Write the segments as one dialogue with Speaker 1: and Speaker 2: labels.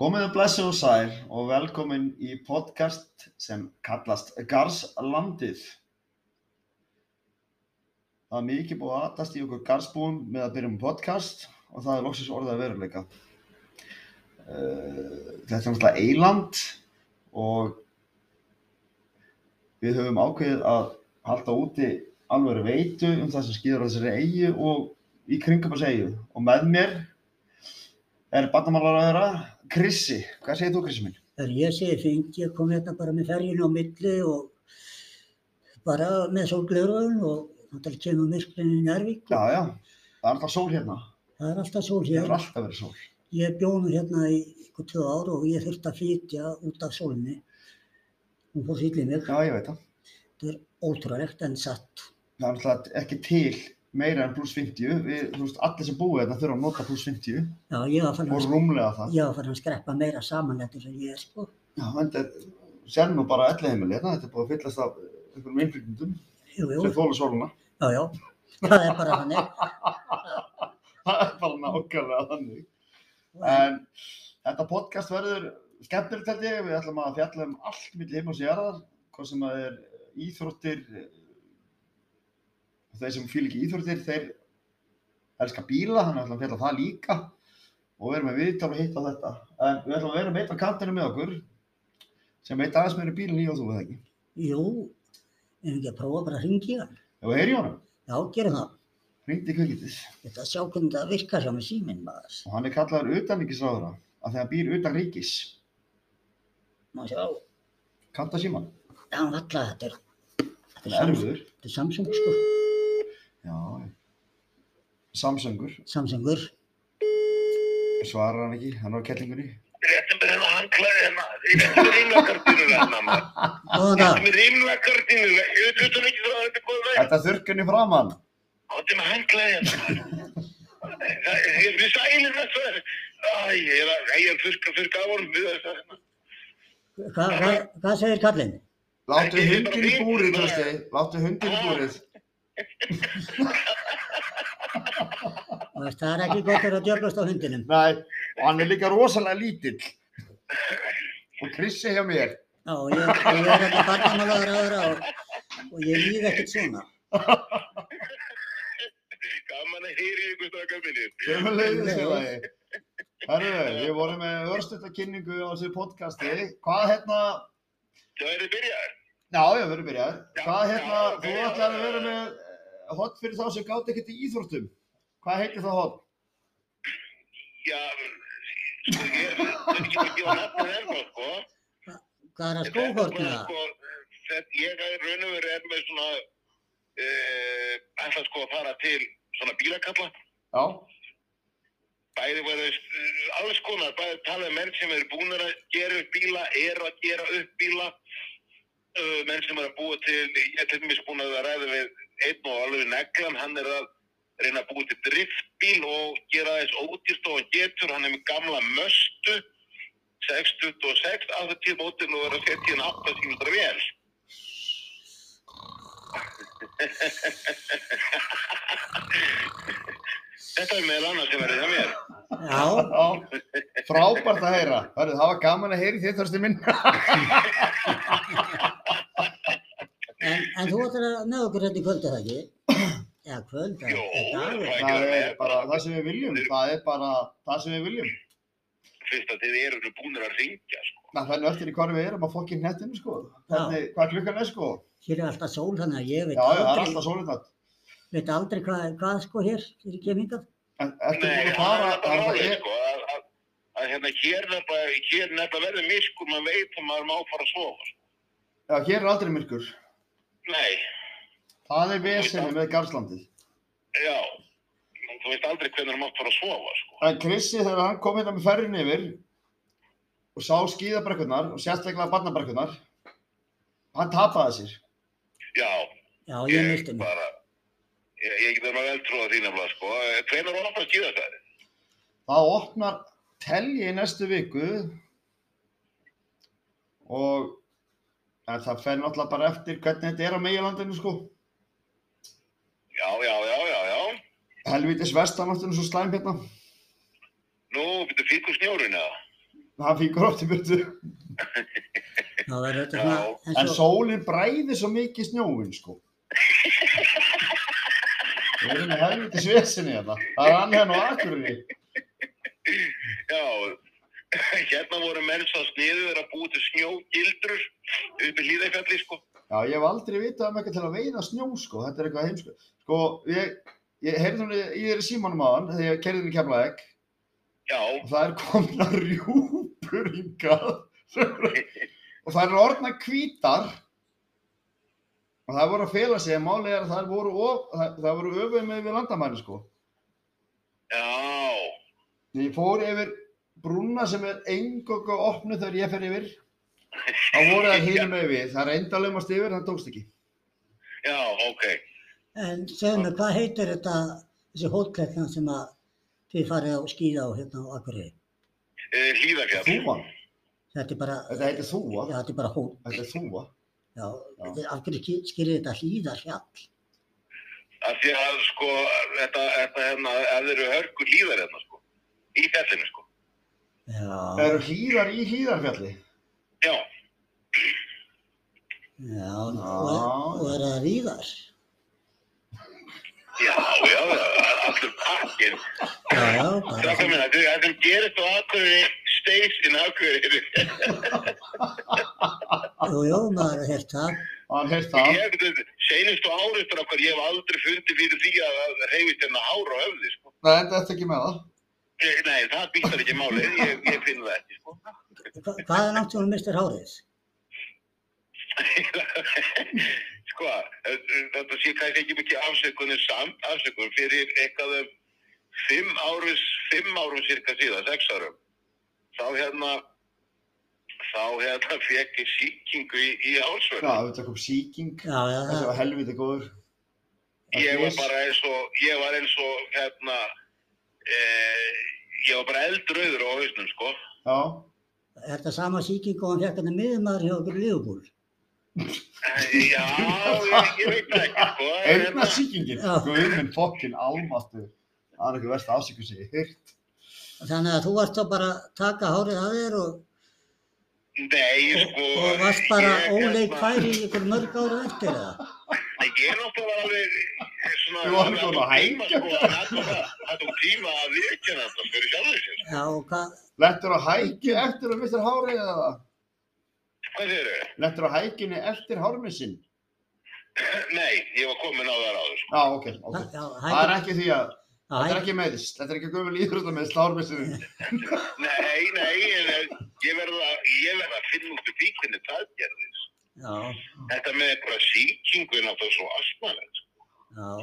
Speaker 1: Komið blessuð og sæl og velkomin í podcast sem kallast Garðslandið. Það er mikið búið að aðtast í okkur garðsbúum með að byrja um podcast og það er loksins orðið að veruleika. Eh, Þetta er náttúrulega eiland og við höfum ákveðið að halda úti alveg veitu um það sem skýður á þessari eigu og í kringum þessu eigu. Og með mér er barnamálaræðara Krissi. Hvað segir þú Krissi minn?
Speaker 2: Þegar ég segi fengi, ég kom hérna bara með ferjun á milli og bara með sólglöðun og náttúrulega kemur myrklinni í Nærvík.
Speaker 1: Já, já. Það er alltaf sól hérna.
Speaker 2: Það er alltaf sól
Speaker 1: Það er
Speaker 2: hér.
Speaker 1: alltaf verið sól.
Speaker 2: Ég bjó nú hérna í ykkur tvö ár og ég þurfti að flytja út af sólni. Hún fór sýtlið mig.
Speaker 1: Já, ég veit það.
Speaker 2: Þetta er ótrúlegt en satt.
Speaker 1: Það er alltaf ekki til meira en pluss 50. Við, þú veist, allir sem búið þetta þurfa að nota pluss 50
Speaker 2: Já, ég var farin
Speaker 1: og
Speaker 2: að,
Speaker 1: rúmlega það.
Speaker 2: ég var farin að skreppa meira saman þetta sem ég er sko.
Speaker 1: Já, en þetta sér nú bara elli heimili hérna. Þetta er búið að fyllast af einhverjum innflytjendum
Speaker 2: Jú, jú,
Speaker 1: sem þóla sóluna.
Speaker 2: já, já. Það er bara þannig.
Speaker 1: Það er bara nákvæmlega þannig.
Speaker 2: En,
Speaker 1: En þetta podcast verður skemmtilegt held ég, við ætlum að fjalla um allt milli heim og sérðar, hvað sem að er íþróttir, eh, þeir sem fýl ekki íþróttir, þeir elska bíla, þannig ætlum að fjalla það líka og við erum með viðtal að hitta á þetta. En við ætlum að vera meitt á kantinu með okkur, sem veit aðeins meira um bílinn í og þú veð ekki.
Speaker 2: jú, en ekki að prófa bara að ringi hann.
Speaker 1: Ef við heyri honum,
Speaker 2: Já, gerum það.
Speaker 1: hringdi kvikitið
Speaker 2: Þetta sjá hvernig það virkar hjá með síminn maður.
Speaker 1: og hann er kallaður utanríkisráðara, af því að hann býr utan ríkis.
Speaker 2: Má sjá,
Speaker 1: Kanta síman,
Speaker 2: já, alltaf þetta er, þetta
Speaker 1: hann
Speaker 2: er,
Speaker 1: er
Speaker 2: Samsung,
Speaker 1: erfiður.
Speaker 2: þetta er Samsung sko,
Speaker 1: Já, Samsöngur,
Speaker 2: Samsungur.
Speaker 1: svarar hann ekki, hann var á kellingunni.
Speaker 3: Réttum við hérna handklæði hérna. Réttum við rimlakardinu hérna maður.
Speaker 1: Ah.
Speaker 2: Góðan dag,
Speaker 3: Réttum við rimlakardinu. Ég veit þetta ekki það að þetta er góð veginn.
Speaker 1: Þetta þurrkunni framann.
Speaker 3: Áttum við handklæði hérna. Það er við sælir þessu. Æ, ég er að, ég er fyrka, fyrka af honum við þessu hérna.
Speaker 2: hva, hva, hvað segir kallinn?
Speaker 1: Láttu
Speaker 3: Ekki,
Speaker 1: hundin í
Speaker 3: bara
Speaker 1: búrið,
Speaker 3: fínt.
Speaker 1: Trösti. Láttu hundin í
Speaker 3: Ah.
Speaker 1: búrið.
Speaker 2: Þú veist, Það er ekki gott að vera að djöflast á hundinum.
Speaker 1: Nei, og hann er líka rosalega lítill. Og Krissi hjá mér.
Speaker 2: Já, og ég, og ég er ekki barnamálaður aðra og, og ég líð ekkert svona.
Speaker 3: Gaman að heyri ykkur stakar minni.
Speaker 1: Kemur leiðis
Speaker 2: Nei.
Speaker 1: til það. Herru, við vorum með örstutakynningu á þessu podcasti. Hvað hérna,
Speaker 3: Það er að byrja.
Speaker 1: já, já, við erum byrjað.
Speaker 3: Já,
Speaker 1: Hvað hérna,
Speaker 3: já,
Speaker 1: þú
Speaker 3: byrjaður.
Speaker 1: ætlar að vera með eh, hot fyrir þá sem gátt ekkert í íþróttum. Hvað heitir það hot?
Speaker 3: Já, sko, ég er ekki ekki á nafnið hérna, sko.
Speaker 2: Hvað er að skóhortna það?
Speaker 3: Sko, þetta- Ég er raun og verið er með svona, uh, ætla sko að fara til svona bílakalla.
Speaker 1: Já,
Speaker 3: bæði verið eh, alls konar, bæði talað um menn sem eru búinir að gera upp bíla, eru að gera upp bíla, uh, menn sem eru að búa til, ég er til dæmis búin að ræða við einn og alveg neglan, hann er að reyna að búa til driftbíl og gera þess ódýrst og hann getur, hann er með gamla möstu, 626, alveg til mótin og er að setja hann 8 kílómetra vel. Þetta er meðal annars sem verið hjá mér.
Speaker 2: Já,
Speaker 1: já. Frábært að heyra. Herru, það var gaman að heyri þér, Trösti minn.
Speaker 2: en, en þú ætlar að með okkur þetta í kvöld, er það ekki? Já, kvöld,
Speaker 3: Jó,
Speaker 2: þetta er dagur.
Speaker 3: það
Speaker 1: það er bara það sem við viljum það er bara það sem við viljum
Speaker 3: Fyrst að þið eru búinir að ringja, sko.
Speaker 1: Na, þannig öll er í hvar við erum að fokkin hnettinu sko Hvernig, hvað klukkan er sko já,
Speaker 2: Hér er alltaf sól þannig að ég
Speaker 1: já,
Speaker 2: veit
Speaker 1: það er
Speaker 2: aldrei,
Speaker 1: alltaf sólinat
Speaker 2: veit aldrei hvað, hvað sko hér, hér er kemingað.
Speaker 1: en ertu
Speaker 3: Nei,
Speaker 1: búin að
Speaker 3: það
Speaker 1: fara
Speaker 3: er
Speaker 1: það
Speaker 3: bara
Speaker 1: er,
Speaker 3: málið,
Speaker 1: er,
Speaker 3: sko, að, að, að hérna hér er bara, hér er nefnilega verður miskur, maður veit að maður má fara að sofa, sko.
Speaker 1: já, hér er aldrei myrkur
Speaker 3: Nei,
Speaker 1: það er vesinu með Garðslandið
Speaker 3: já, þú veist aldrei hvernig maður má fara að sofa, sko.
Speaker 1: en Krissi þegar hann kom hérna með ferrin yfir og sá skíðabrekkunar og sérstaklega barnabrekkunar hann tapaði sér
Speaker 3: Já,
Speaker 2: Já, ég misti mig.
Speaker 3: bara, ég, ég getur maður vel trúið þín nefnilega, sko. Hvernig er ofnast í þetta?
Speaker 1: það opnar telji í næstu viku og en það fer náttúrulega bara eftir hvernig þetta er á megilandinu sko
Speaker 3: Já, já, já, já, já.
Speaker 1: helvitis vestanáttinu svo slæm hérna
Speaker 3: Nú, byrju, fíkur snjórun, eða?
Speaker 1: það fíkur oft í byrtu.
Speaker 2: Það var þetta svona,
Speaker 3: Já,
Speaker 1: En sólinn bræðir svo mikið snjóin, sko. Við erum með helviti svesinni hérna. Það er annað en á akkurinni.
Speaker 3: Já, hérna voru menn svo sniður þeirra búið til snjógildrur upp í hlýðafjalli, sko.
Speaker 1: Já, ég hef aldrei vitað um eitthvað til að veiða snjó, sko. Þetta er eitthvað heimsko. Sko, ég, ég heyrði hún, ég er í símanum á hann þegar ég kerði henni kemla ekk
Speaker 3: Já,
Speaker 1: og það er komna rjúpur hingað og það er orðna hvítar og það voru að fela sig en málið er að það voru, of, það, það voru öfum með við landamæri sko
Speaker 3: já,
Speaker 1: ég fór yfir brúna sem er engöku opnu þegar ég fer yfir þá voru það hinum með við það reyndalegumast yfir, það tókst ekki
Speaker 3: já, ok.
Speaker 2: en segðu mig, hvað heitir þetta, þessi hóllkletna sem að þið farið á skíða á hérna á Akureyri?
Speaker 3: Eh, Hlíðafjall.
Speaker 1: þúa,
Speaker 2: Þetta er bara,
Speaker 1: þetta heitir
Speaker 2: já,
Speaker 1: þúa
Speaker 2: þetta er bara hóll,
Speaker 1: þetta er þúa
Speaker 2: já, þetta er- af hverju ský- skýrir þetta hlýðarhjall?
Speaker 3: Af því að, sko, þetta, þetta hérna, að þeir eru hörku hlíðar hérna, sko. Í fjallinu, sko.
Speaker 1: það
Speaker 2: Já,
Speaker 1: eru hlýðar í hlýðarfjalli
Speaker 3: Já,
Speaker 2: já, og, og er það ríðar?
Speaker 3: já, já, já, allur pakkin.
Speaker 2: Já, já, bara,
Speaker 3: Stráka minna, þetta sem gerist á Akureyri, stays in Akureyri.
Speaker 2: jú, jú, maður er hægt það,
Speaker 1: hann heyrst það
Speaker 3: Ég, seinustu árið, strákar, ég hef aldrei fundið fyrir því að það reyfist hérna hár á höfði, sko.
Speaker 1: það enda eftir ekki með það
Speaker 3: Ég, nei, það býtar ekki máli, ég, ég finn það ekki, sko.
Speaker 2: Hva, hvað er náttúrulega mistur hárið?
Speaker 3: sko, eh, þetta sé kannski ekki mikið afsökunum samt, afsökunum fyrir eitthvað um fimm árum, fimm árum cirka síðan, sex árum. Þá hérna, þá hérna fekk ég sýkingu í, í
Speaker 1: já,
Speaker 3: hálsverð.
Speaker 1: þetta kom sýking
Speaker 2: Já, já,
Speaker 1: þessi
Speaker 2: það,
Speaker 1: var helviti góður
Speaker 3: Ég var bara eins og, ég var eins og hérna, eh, ég var bara eldrauður á hausnum, sko.
Speaker 1: já
Speaker 2: er þetta sama sýking og hann fekk hérna miðumæður hjá okkur í Liverpool?
Speaker 3: Eh, Já, ég, ég veit það ekki, sko. en
Speaker 1: Einna
Speaker 3: hérna-
Speaker 1: sýkingin,
Speaker 2: Já.
Speaker 1: guðminn fokkin almáttu. Það er eitthvað verst afsíkur sem ég heyrt.
Speaker 2: Þannig að þú varst þá bara að taka hárið að þér og,
Speaker 3: Nei,
Speaker 2: og,
Speaker 3: sko...
Speaker 2: og varst bara
Speaker 3: ég-
Speaker 2: óleik
Speaker 3: hérna-
Speaker 2: færi í ykkur mörg ára eftir eða?
Speaker 3: Nei, Ég er náttúrulega alveg eh, svona...
Speaker 1: Þú varst svona
Speaker 3: það tók tíma,
Speaker 1: hækja.
Speaker 3: sko, Það tók- það tók tíma að viðkjöna þetta fyrir sjálfur sér.
Speaker 2: Já, og hvað,
Speaker 1: Lettur á hækju eftir að mistur hárið eða það?
Speaker 3: Hvað þeir eru?
Speaker 1: Lettur á hækjunni eftir hármið sinn?
Speaker 3: Nei, ég var komin á sko. það ráður.
Speaker 1: Já, ok, ok.
Speaker 2: já,
Speaker 1: Það er
Speaker 2: hæ,
Speaker 1: ekki því að, þetta er
Speaker 2: hæ,
Speaker 1: ekki meðist, þetta er ekki guðminn íþrótta meðist hármið sinn.
Speaker 3: Nei, nei, en eh, ég verða ég verð að finna út úr því hvernig það gerðist.
Speaker 2: já,
Speaker 3: Þetta með einhverja sýkingu er náttúrulega svo asnalegt.
Speaker 2: já,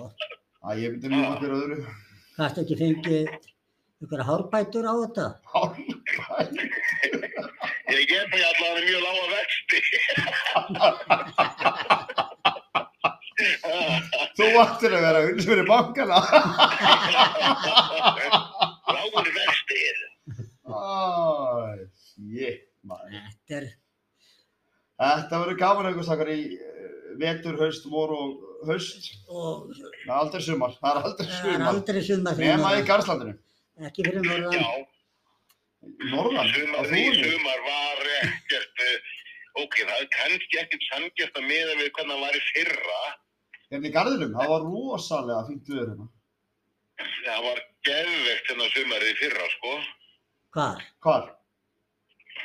Speaker 1: Æ, ég myndi mjög okkur öðru.
Speaker 2: gæst ekki fengið ykkur hárbætur á þetta?
Speaker 1: Hármið,
Speaker 3: Ég er bara allavega mjög lága vexti.
Speaker 1: þú vartir að vera unnum fyrir bankana.
Speaker 3: Lágur vexti er.
Speaker 1: Æ, shit, maður.
Speaker 2: Þetta er,
Speaker 1: Þetta verður gaman einhvers takkar í eh, vetur, haust, vor og haust.
Speaker 2: og
Speaker 1: Það er aldrei sumar, það er aldrei
Speaker 2: það er
Speaker 1: sumar.
Speaker 2: aldrei sumar fyrir
Speaker 1: Nema í
Speaker 2: norðan,
Speaker 1: Garðslandinu.
Speaker 2: ekki fyrir norðan,
Speaker 3: Já.
Speaker 1: Norðan, á
Speaker 3: Sumar, í
Speaker 1: þúinu.
Speaker 3: sumar var ekkert, eh, ok, það er kannski ekkert sangjast að miða við hvernig það var í fyrra.
Speaker 1: Hérna í Garðinum, það var rosalega fínt viður hérna.
Speaker 3: Það var geðvegt hérna sumarið í fyrra, sko.
Speaker 2: hvar?
Speaker 1: Hvar?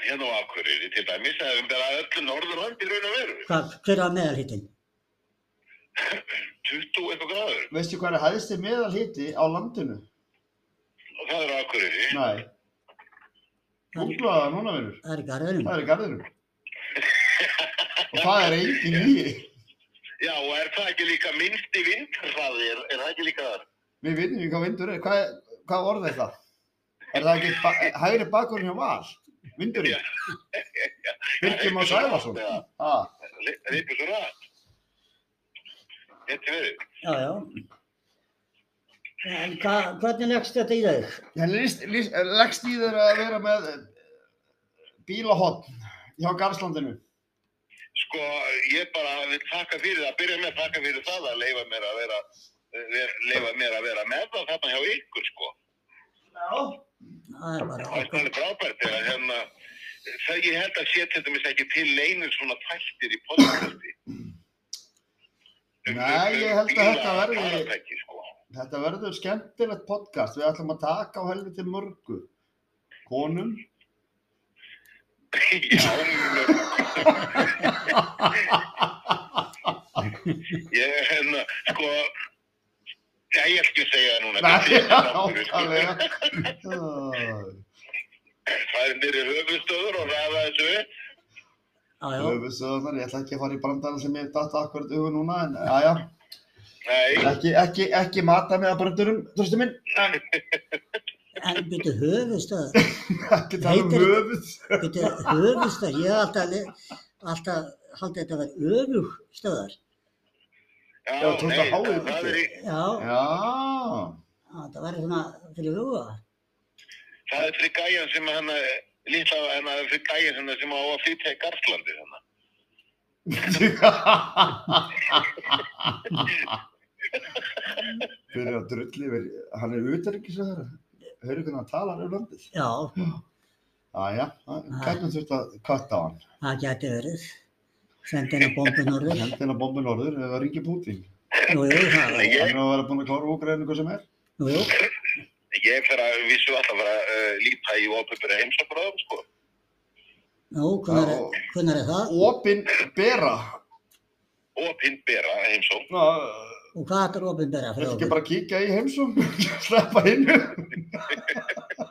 Speaker 3: Hérna á Akureyri til dæmis, það er um bara öllu Norðurland í raun og veru.
Speaker 2: Hvað, hver var meðalhittin?
Speaker 3: 20 eitthvað gráður
Speaker 1: Veistu hvað er hæðsti meðal hiti á landinu?
Speaker 3: og það er á Akureyri.
Speaker 1: Nei. Googlað það núna, vinnur.
Speaker 2: Það er í garðinum.
Speaker 1: Það er í Garðinum. Og það er engin nýi.
Speaker 3: Já, og er það ekki líka minnst í vindhraði, er, er það ekki líka þar?
Speaker 1: Við vinnum ekki hvað vindur er. Hvað, er- hvað orð er það? Er það ekki ba hægri bakgrunn hjá val?
Speaker 3: Já.
Speaker 1: Vindurinn? Birkjum á Sæfarsson?
Speaker 3: Já,
Speaker 1: Ha,
Speaker 3: reypur svo rætt. Þetta verið.
Speaker 2: Já, já. En hva, hvernig leggst þetta í þau?
Speaker 1: Henni líst- líst- leggst í þeir að vera með eh, bílahotn hjá Garðslandinu.
Speaker 3: Sko, ég bara vil taka fyrir það, byrja með að taka fyrir það að leifa mér að vera, eh, leifa mér að vera með það þarna hjá ykkur, sko.
Speaker 1: Já.
Speaker 2: Já, það er bara
Speaker 3: Það er
Speaker 2: okkar.
Speaker 3: alveg frábært eða hérna það ég held að sé til dæmis ekki til neynir svona tættir í podcasti. Um-
Speaker 1: Nei,
Speaker 3: um-
Speaker 1: ég
Speaker 3: um
Speaker 1: held að
Speaker 3: bíla-
Speaker 1: þetta verði-
Speaker 3: farartæki, sko.
Speaker 1: Þetta verður skemmtilegt podcast, við ætlum að taka á helviti mörgu. Konum,
Speaker 3: Já, mjög. ég hérna, sko, já, ég ætl ekki að segja það núna.
Speaker 1: nei,
Speaker 3: nákvæmlega.
Speaker 1: áttalega.
Speaker 3: Það er nýri höfustöður og ræða þessu við.
Speaker 2: Já, já,
Speaker 1: Höfusöðunar, ég ætla ekki að fara í brandana sem ég datta akkurat auðvun núna, en aðja,
Speaker 3: Nei,
Speaker 1: ekki, ekki, ekki mata mig að brandurum, þurftu minn,
Speaker 2: en byrju höfustöðar,
Speaker 1: ekki tala um
Speaker 2: Heitir-
Speaker 1: höfus.
Speaker 2: byrju höfustöðar, ég hef alltaf, le- alltaf haldið þetta að vera öfugstöðar.
Speaker 3: já,
Speaker 1: Já, tókstu
Speaker 3: nei,
Speaker 1: að háið
Speaker 3: það- það er í-
Speaker 2: Já,
Speaker 1: Já,
Speaker 2: það væri svona fyrir huga.
Speaker 3: það er fyrir gæjan sem hann lítla, en það er fyrir gæjan sem, sem á að flytja í Garðslandi þannig.
Speaker 1: fyrir að drulli yfir, hann er utanrikisöðara, höfðu hvernig hann talar um landið.
Speaker 2: Já,
Speaker 1: Æja, hvernig þurftu að kvarta á hann?
Speaker 2: það geti verið. Sendi henni bombu norður.
Speaker 1: Hendina bombin orður eða ringi Putin.
Speaker 2: Jú, jú, það var,
Speaker 1: Hann er að vera búin að klára úgræðinu hvað sem er.
Speaker 2: jú, jú.
Speaker 3: Ég fer að vissu alltaf að fara að uh, líta í ofinbæra heimsabráðum, sko.
Speaker 2: Nú, hvernig er, hvernig er það?
Speaker 1: Opin bera.
Speaker 3: Opinbera heimsókn.
Speaker 1: Ná,
Speaker 2: Og hvað er ofinbera
Speaker 1: þetta
Speaker 2: fyrir
Speaker 1: ekki
Speaker 2: okkur?
Speaker 1: bara að kíkja í heimsum, sleppa hinnu.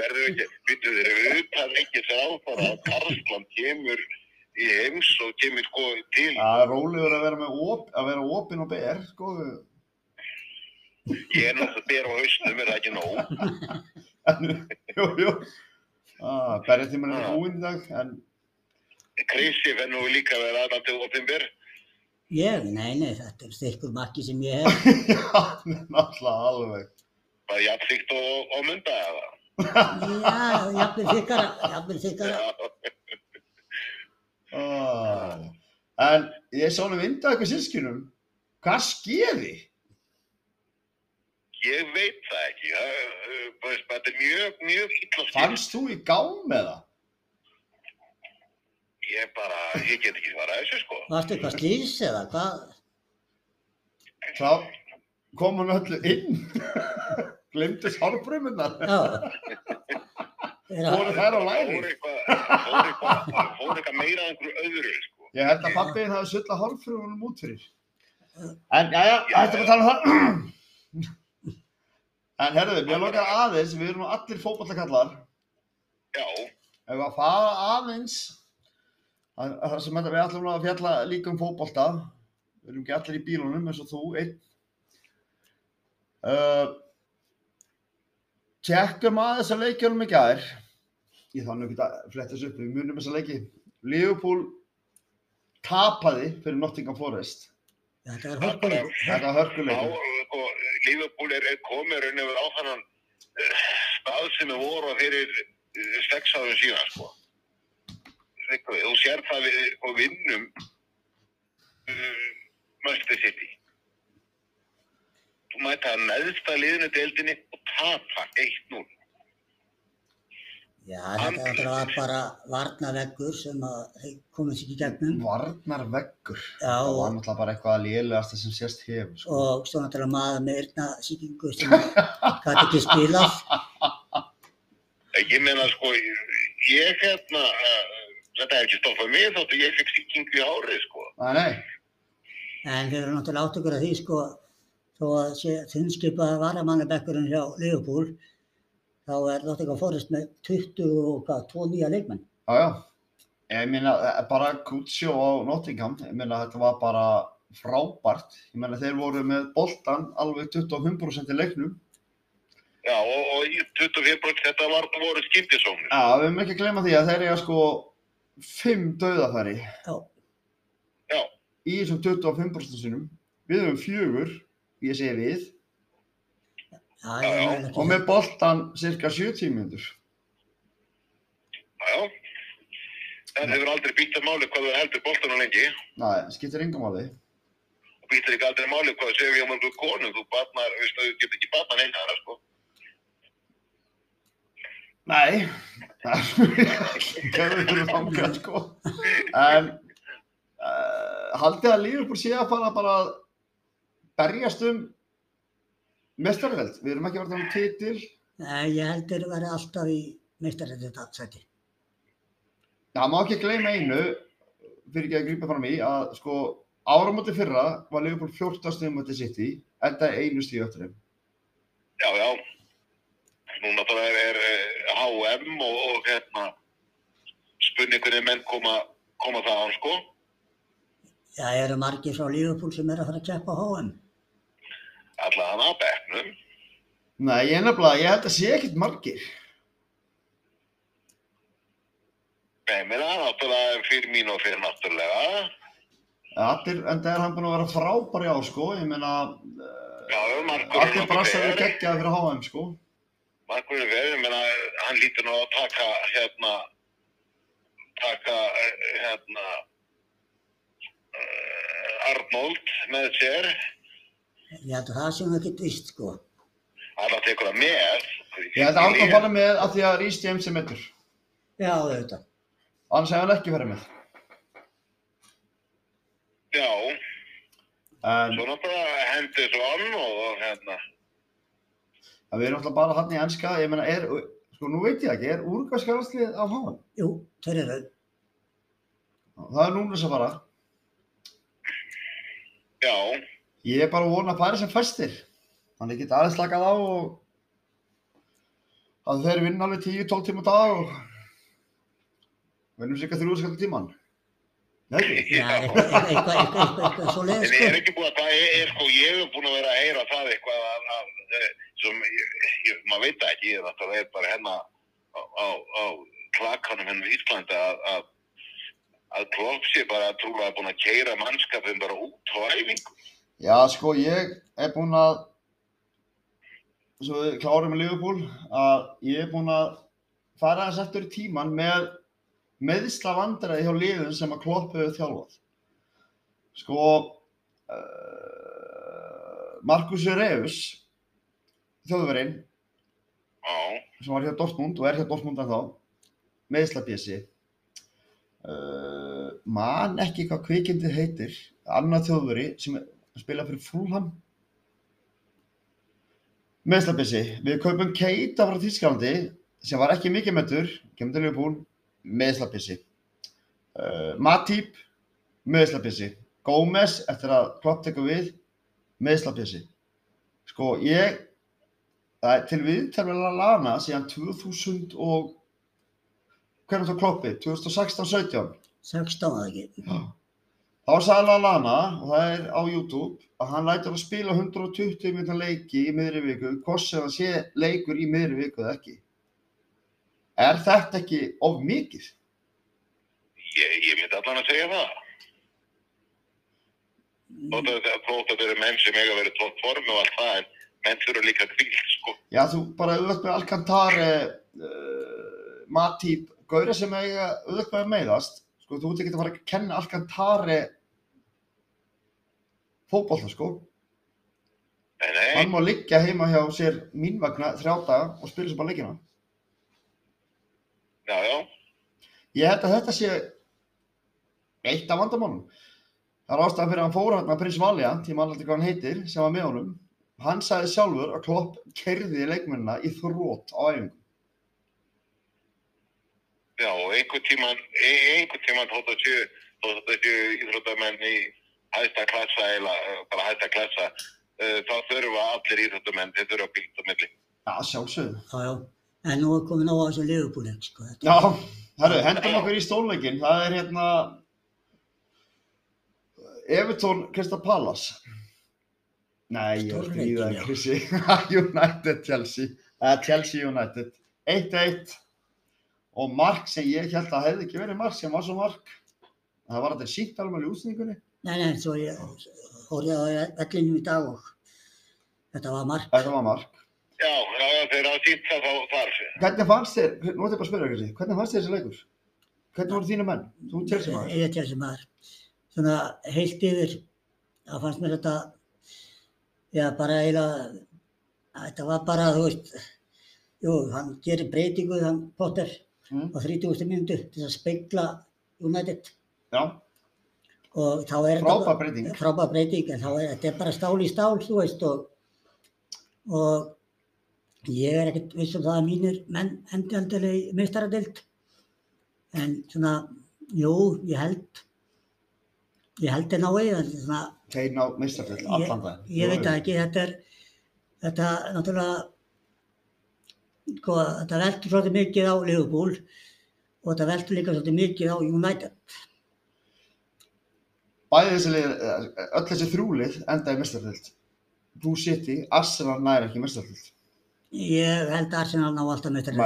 Speaker 3: Verður ekki, býttu þér, við uppað ekki þér á bara að Karlsland kemur í heims og kemur sko til.
Speaker 1: Það er rólegur að vera með op, að vera opin og ber, sko.
Speaker 3: Ég er náttúrulega bera á hausnum, er það ekki nóg?
Speaker 1: En, jú, jú. Ah, Berja tímur er búinn í dag, en
Speaker 3: Krissi fer nú líka að vera aðnáttu opinber.
Speaker 2: Ég, nei, nei, þetta er styrkur makki sem ég hef.
Speaker 1: já, náttúrulega alveg.
Speaker 3: Bara jafnfíkt og, og mynda eða.
Speaker 2: Já, jafnvel þykkara, jafnvel þykkara.
Speaker 3: Já,
Speaker 1: Ah. En ég sá hann vinda eitthvað sískinum. Hvað skeði?
Speaker 3: ég veit það ekki. Það, uh, bara- þetta er mjög, mjög illa skil.
Speaker 1: Fannst þú í gám með það?
Speaker 3: Ég bara, ég get ekki svarað þessu sko.
Speaker 2: Varstu eitthvað slýs eða hvað?
Speaker 1: þá kom hann öllu inn glimtist hálfbruminnar
Speaker 2: Já. Er að,
Speaker 1: voru þær á læri
Speaker 3: Fór eitthvað- fór eitthvað fór eitthvað meira að einhverju öðru sko.
Speaker 1: ég held að pappiðin hafi sulla hálfbrumunum út fyrir en jæja, hættum að tala um það en herruðu, mér lokar aðeins við erum nú allir fótballakallar
Speaker 3: Já,
Speaker 1: ef að fara aðeins að- að það sem þetta við ætlum nú að fjalla líka um fótbolta við erum ekki allir í bílunum eins og þú einn uh, tjekkum að þess að leikjunum í gær ég þannig ekki að fletta þessu upp við munum þess að leiki Liverpool tapaði fyrir Nottingham Forest
Speaker 2: þetta er hálfbólið.
Speaker 1: þetta er
Speaker 3: já
Speaker 1: hörkuleikur
Speaker 3: og sko, Liverpool er er komið raun og verið á þannan eh, stað sem við voru fyrir eh, sex árum síðan sko. Eitthvað, Þú sér það við og vinnum eh, Manchester City. Þú mæta að neðsta liðinu deildinni og tapa 1-0.
Speaker 2: Já, þetta var bara varnaveggur sem að þeir komið sér í gegnum.
Speaker 1: varnar veggur
Speaker 2: Já,
Speaker 1: það var
Speaker 2: og,
Speaker 1: náttúrulega bara eitthvað að lélegasta sem sést hefur sko.
Speaker 2: og svo náttúrulega maður með erna síkingu sem gæti ekki spilað.
Speaker 3: Ég meina sko, ég hérna, uh, þetta hef ekki stoppað mig þóttu ég fekk sýkingu í árið sko.
Speaker 1: Nei, nei,
Speaker 2: En við erum náttúrulega átt okkur að því sko, þó að sé þunnskipaða varamannabekkurinn hjá Liverpool, þá er Nottingham Forest með 20 og hvað, 2 nýja leikmenn.
Speaker 1: Já, já. Ég meina, eh, bara Kutsjó á Nottingham, ég meina, þetta var bara frábært. Ég meina, þeir voru með boltan alveg 25% í leiknum.
Speaker 3: Já, og, og í 25% þetta var, voru skiptisóknir.
Speaker 1: Já, við höfum ekki að gleyma því að þeir eiga sko 5 dauðafæri
Speaker 2: Já,
Speaker 3: Já,
Speaker 1: í þessum 25% sinum. Við höfum fjögur, ég segi við,
Speaker 2: já, já, já.
Speaker 1: og með boltan cirka 70 mínútur.
Speaker 3: já, já. Þetta hefur aldrei býttað máli hvað þú heldur boltana lengi.
Speaker 1: Nei, skiptir engum máli.
Speaker 3: Og býttar ekki aldrei máli hvað þú segir við um einhverju konu. Þú batnar, veist þú, getur ekki batnað neina þarna sko.
Speaker 1: Nei, það er verið langað sko. En uh, haldið að Liverpool sé að fara bara að berjast um mestarveld. Við erum ekki verið um titil.
Speaker 2: Nei, ég held þeir verið alltaf í meistarrættisæti.
Speaker 1: Það má ekki gleyma einu, fyrir ekki að grípa fram í, að sko áramóti fyrra var Liverpool 14 stíðum á City, enda einu stíð öttur þeim.
Speaker 3: Já, já. Núna bara er, er eh, HM og, og hérna spunni hvernig menn koma, koma það án sko.
Speaker 2: Það eru margir frá Liverpool sem eru að fara að keppa á HM.
Speaker 3: Alla hann að bekknum.
Speaker 1: Nei, ég nefnilega, ég held að sé ekkert margir.
Speaker 3: Nei, mér er náttúrulega fyrir mín og fyrir náttúrulega.
Speaker 1: Allir, enda er hann búinn að vera frábær í ár sko, ég meina uh,
Speaker 3: Já, já, margur er
Speaker 1: allir brassar eru geggjað fyrir HM sko.
Speaker 3: Markur er verið, menna, hann lítur nú að taka hérna taka eh, hérna uh, Arnold með sér
Speaker 2: Ég held að það sé nú ekkert vist sko.
Speaker 3: hann að tekur það með
Speaker 1: Ég held að Arnór fara með að því að Rhys James er meittur.
Speaker 2: Já, auðvitað.
Speaker 1: Annars hefði hann ekki farið með.
Speaker 3: Já,
Speaker 1: En
Speaker 3: svona bara hendis og ann og hérna
Speaker 1: að við erum alltaf bara hann í enska, ég meina er, sko nú veit ég ekki, er úrgæðskarlandslið á HM?
Speaker 2: Jú, þeir eru.
Speaker 1: Það er núna þess að fara.
Speaker 3: Já,
Speaker 1: Ég er bara að vona að færi sem fæstir. Þannig geta aðeins slakað á og að þeir vinna alveg 10-12 tíma á dag og vinnum cirka 3 skall tíman. Nei, ekki?
Speaker 2: Já, eitthvað, eitthvað, eitthvað, eitthvað, eitthvað svo leið
Speaker 3: en ég
Speaker 2: sko.
Speaker 3: er ekki búið að það er, er sko, ég hef búin að vera að heyra það eitthvað að, að eh, sem, ég, ég, maður veit það ekki, ég náttúrulega er bara hérna á, á, á klakanum hennar í Íslandi að, að að Klopp sé bara að trúlega búin að keira mannskapin bara út á æfingu.
Speaker 1: Já, sko, ég er búinn að, svo við klárum með Liverpool, að ég er búinn að fara þess eftir í tíman með meðsla vandræði hjá liðum sem að Klopp hefur þjálfað. Sko, uh, Markus Reus, þjóðverinn,
Speaker 3: Já,
Speaker 1: sem var hjá Dortmund og er hjá Dortmund en þá, meðsla bjössi. Uh, man ekki hvað kvikindið heitir, annað þjóðveri sem spila fyrir Fulham. Meðsla bjössi, við kaupum Keita frá Þískalandi sem var ekki mikið metur, kemur til Liverpool, meðsla bjössi. Uh, Matip, meðsla bjössi. Gómez, eftir að klopp tekur við, meðsla bjössi. Sko, ég Það er til viðtæmlega lana síðan 2000 og hvernig þú kloppið, 2016-17
Speaker 2: 16 að ekki.
Speaker 1: þá sagði Lallana og það er á YouTube að hann lætur að spila 120 minna leiki í miðri viku hvort sem hann sé leikur í miðri viku eða ekki er þetta ekki of mikið?
Speaker 3: ég, ég myndi allan að segja það.
Speaker 2: Mm.
Speaker 3: Þótt að þetta þótt að þetta eru menn sem eiga að vera í tótt formi og allt það, en menn þurfa líka kvíld, sko.
Speaker 1: Já þú bara auðvitað með Alcantara uh, Matip Gaura sem eiga auðvitað með meðast sko þú ert ekki að fara að kenna Alcantara fótbolta sko
Speaker 3: Nei, nei.
Speaker 1: hann má liggja heima hjá sér mín vegna þrjá daga og spila sem bara leikina.
Speaker 3: Já, já.
Speaker 1: Ég held að þetta sé eitt af vandamálum. Það er ástæðan fyrir að hann fór hann að prins Valja, tíma alltaf hvað hann heitir, sem var með honum. Hann sagði sjálfur að Klopp kerði leikmennina í þrótt á æfingu.
Speaker 3: Já, og einhver tíman, ein- einhver tíman þótt að séu, þótt að séu íþróttamenn í hæsta klassa eða e, bara hæsta klassa, uh, þá þurfa allir íþróttamenn, þeir þurfa að bíta á milli.
Speaker 1: Já, sjálfsögðu.
Speaker 2: Já, já. En nú er komið nóg á þessu Liverpool leik sko. Þetta-
Speaker 1: Já, herru, hendum okkur í stólleikin. Það er hérna Evertón Krista Pallas. Nei, ég er
Speaker 2: Stórleikin,
Speaker 1: stríða
Speaker 2: já.
Speaker 1: Kristi. United Chelsea. Uh, Chelsea United. 1-1. Og mark sem ég held að hefði ekki verið mark sem var svo mark. Það var þetta sínt alveg í útsendingunni.
Speaker 2: Nei, nei, svo ég horfði á vellinum í dag og þetta var mark.
Speaker 1: Þetta var mark.
Speaker 3: Já, já, já, þeir hafa sýnt það þá þar.
Speaker 1: Hvernig fannst þér, nú ætlum ég bara að spyrja Kristi, hvernig fannst þér þessi leikur? Hvernig voru þínu menn? Þú Chelsea maður.
Speaker 2: Ég er Chelsea maður. Svona heilt yfir, það fannst mér þetta, já bara eiginlega, þetta var bara, þú veist, Jú, hann gerir breytingu, hann Potter,
Speaker 1: Mm.
Speaker 2: á 30. mínútu til að speigla United.
Speaker 1: Já,
Speaker 2: Og þá er
Speaker 1: frábær breyting.
Speaker 2: Frábær breyting, en þá er þetta er bara stál í stál, þú veist, og, og ég er ekkert viss um það að mínir menn endi aldrei meistaradeild. En svona, jú, ég held, ég held þeir nái, en svona,
Speaker 1: Þeir ná mistarfell
Speaker 2: ég,
Speaker 1: allan dag.
Speaker 2: ég veit það ekki, þetta er, þetta náttúrulega, sko, þetta veldur svolítið mikið á Liverpool og þetta veldur líka svolítið mikið á United.
Speaker 1: Bæði þessi lið, eh, öll þessi þrjúlið enda í mistarfell. Blue City, Arsenal næri ekki mistarfell.
Speaker 2: Ég held að Arsenal ná alltaf með
Speaker 1: Nei.
Speaker 2: þetta
Speaker 3: Og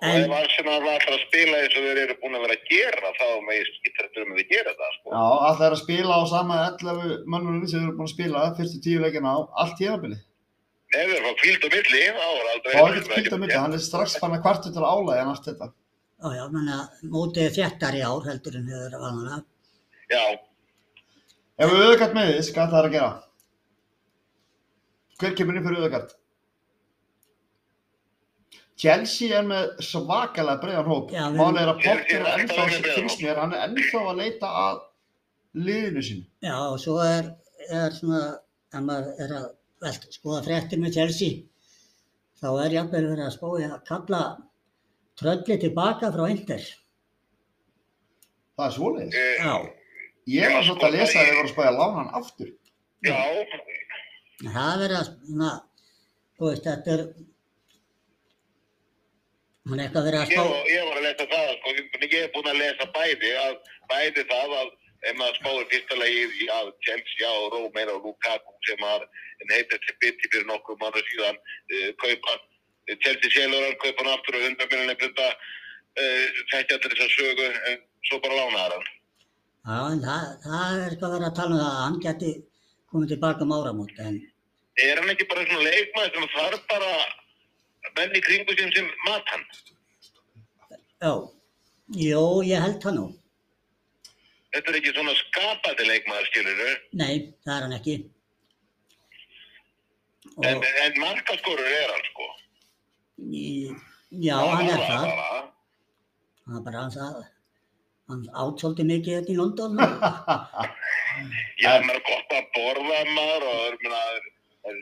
Speaker 3: ef
Speaker 2: En
Speaker 3: Arsenal var alltaf að spila eins og þeir eru búin að vera að gera þá með skýtrættur um að þeir gera það
Speaker 1: Já,
Speaker 3: sko.
Speaker 1: alltaf er að spila á sama 11 mönnum sem eru búin að spila fyrstu tíu leikina á allt tíðanbili.
Speaker 3: Ef þeir fá kvíld á milli, þá er aldrei...
Speaker 1: Það var ekkert kvilt að mynda, hann er strax fann að kvartu til álæði en allt þetta.
Speaker 2: já, já, menna, mótið er þjættar í ár heldur en hefur verið vanalega.
Speaker 3: Já,
Speaker 1: Ef við auðvitað með því, hvað það er að gera? Hver kemur inn fyrir auðvitað? Chelsea er með svakalega breiðan hóp.
Speaker 2: Já, við-
Speaker 1: Málið er að
Speaker 3: Chelsea
Speaker 1: Potter
Speaker 3: er
Speaker 1: er ennþá
Speaker 3: svakalega breiðan hóp.
Speaker 1: finnstnir, hann er ennþá að leita að liðinu sín.
Speaker 2: Já, og svo er, er svona, ef maður er að velt, skoða fréttir með Chelsea, þá er jafnvel verið að spói að kalla trölli tilbaka frá Inter.
Speaker 1: Það er svoleiðis.
Speaker 3: eh,
Speaker 2: Já,
Speaker 1: Ég var
Speaker 3: já,
Speaker 1: svolítið að
Speaker 3: sko,
Speaker 1: lesa
Speaker 3: það
Speaker 1: að
Speaker 3: er-
Speaker 1: þið voru að spæja að lána hann aftur.
Speaker 3: já,
Speaker 2: en það er verið að, svona, þú veist, þetta er, hún er eitthvað verið að
Speaker 3: Ég,
Speaker 2: spá,
Speaker 3: var- ég var að lesa það, sko, en ég er búinn að lesa bæði, að, bæði það að ef maður spáður fyrsta lagi í að Chelsea og Romero og Lukaku sem að neytið til biti fyrir nokkuð mánu síðan uh, kaupa eh, Chelsea sjálfur kaupa hann aftur og 100 miljonir punta uh, þetta til þess að sögu en svo bara lánaðar hann.
Speaker 2: já, en það, það er eitthvað verið að tala um það að hann geti komið tilbaka um áramót, en
Speaker 3: Er hann ekki bara svona leikmaður sem þarf bara menn í kringu sem sem mat hann?
Speaker 2: Já, jú, ég held það nú.
Speaker 3: Þetta er ekki svona skapandi leikmaður skilurðu?
Speaker 2: Nei, það er hann ekki. Og,
Speaker 3: En, en markaskorur er hann sko.
Speaker 2: í, já, hann er það.
Speaker 3: bara.
Speaker 2: Hann er bara hann það. Hann átt svolítið mikið hérna í London. og-
Speaker 3: Já, maður er gott að borða maður og er, minna, er, er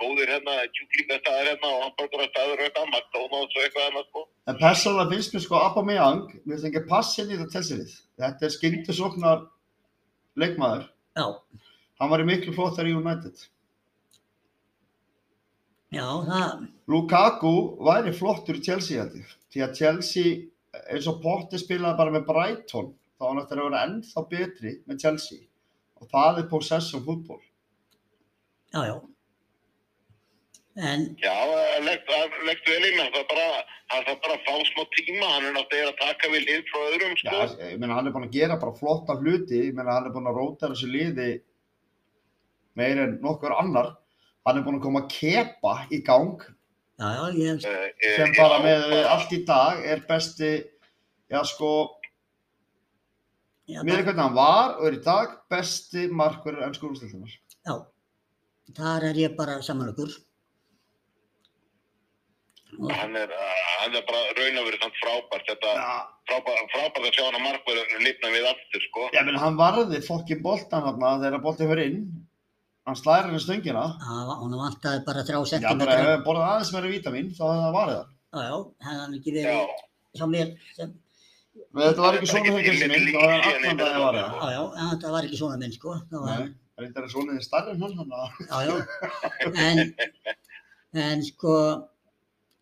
Speaker 3: góðir hérna, kjúklingastæðir hérna og hamburgerastæðir og eitthvað, hérna, McDonalds og eitthvað hérna, sko.
Speaker 1: En persónulega finnst mér sko Aubameyang, mér finnst ekki passin í þetta telsilið. Þetta er skyndisóknar leikmaður.
Speaker 2: Já,
Speaker 1: Hann var í miklu flottar í United.
Speaker 2: já, það,
Speaker 1: Lukaku væri flottur í Chelsea held ég, því að Chelsea eins og Potti spilaði bara með Brighton þá hann eftir að vera ennþá betri með Chelsea og það er possession fútból
Speaker 2: já, já. En,
Speaker 3: Já, það leggt legg vel inn, hann þarf bara, hann þarf bara að fá smá tíma, hann er náttúrulega að taka við lið frá öðrum,
Speaker 1: Já,
Speaker 3: sko.
Speaker 1: ég meina hann er búin að gera bara flotta hluti ég meina hann er búin að róta þessu liði meir en nokkur annar hann er búin að koma að kepa í gang
Speaker 2: já, já, ég,
Speaker 3: Eh, eh,
Speaker 1: sem bara
Speaker 3: já,
Speaker 1: með
Speaker 3: bara-
Speaker 1: allt í dag er besti já sko,
Speaker 2: ég
Speaker 1: með hvernig hann var og er í dag besti markverður enn skólustildunar
Speaker 2: já, þar er ég bara samanlökur. Og,
Speaker 3: Hann er, eh, hann er bara raun og verið samt frábært, þetta
Speaker 1: Já,
Speaker 3: frábært, frábært að sjá hann að markverður lifna við aftur, sko.
Speaker 1: Ég meina, hann varði fokkin boltan hann þegar boltin fyrir inn. Hann slæðir henni stöngina.
Speaker 2: að, hún vantaði bara þrjá
Speaker 1: Já, bara ef
Speaker 2: sentimetra. Já,
Speaker 1: hann borðið aðeins meira vítamin, þá hefði hann varðið hann.
Speaker 2: já, hefði hann ekki
Speaker 3: Já,
Speaker 2: verið hjá mér sem
Speaker 1: Men þetta var ekki svona þegar sem minn, þá hefði hann allan dag að varðið hann.
Speaker 2: Já, já, en þetta var ekki svona minn, sko. Það var,
Speaker 1: Nei, það er eitthvað svona þið starri en hann, hann að...
Speaker 2: já, já. En, en sko,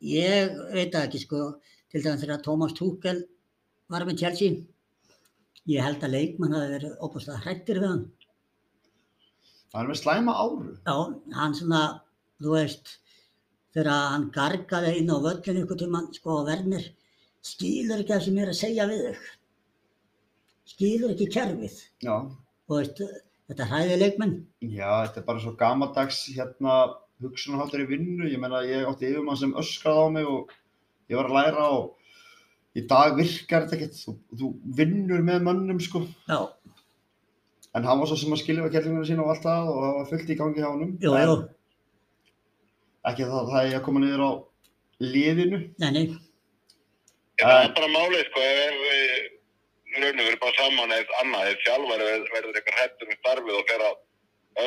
Speaker 2: ég veit það ekki, sko, til dæmis þegar Thomas Tuchel var með Chelsea, ég held að leikmann hafi verið opaslega hrættir við hann.
Speaker 1: Það er með slæma áru.
Speaker 2: Já, hann svona, þú veist, þegar hann gargaði inn á völlinu ykkur tíma, sko, verðnir, skilur ekki það sem ég er að segja við þig. Skilur ekki kerfið.
Speaker 1: Já,
Speaker 2: Þú veist, þetta hræði leikmenn.
Speaker 1: já, þetta er bara svo gamaldags hérna hugsunarháttur í vinnu. Ég meina, ég átti yfirmann sem öskraði á mig og ég var að læra og í dag virkar þetta ekkert. Þú, þú vinnur með mönnum, sko.
Speaker 2: Já,
Speaker 1: En hann var svo sem að skilja við kjærlinguna sína og allt það og það var fullt í gangi hjá honum.
Speaker 2: jú,
Speaker 1: En-
Speaker 2: jú.
Speaker 1: ekki það að það er að koma niður á liðinu
Speaker 2: Nei, nei,
Speaker 3: Það
Speaker 1: Æ.
Speaker 3: er bara málið sko, ef, ef við raunum verið bara saman eða annað, ef þjálfari ver- verður eitthvað hættur um starfið og fer að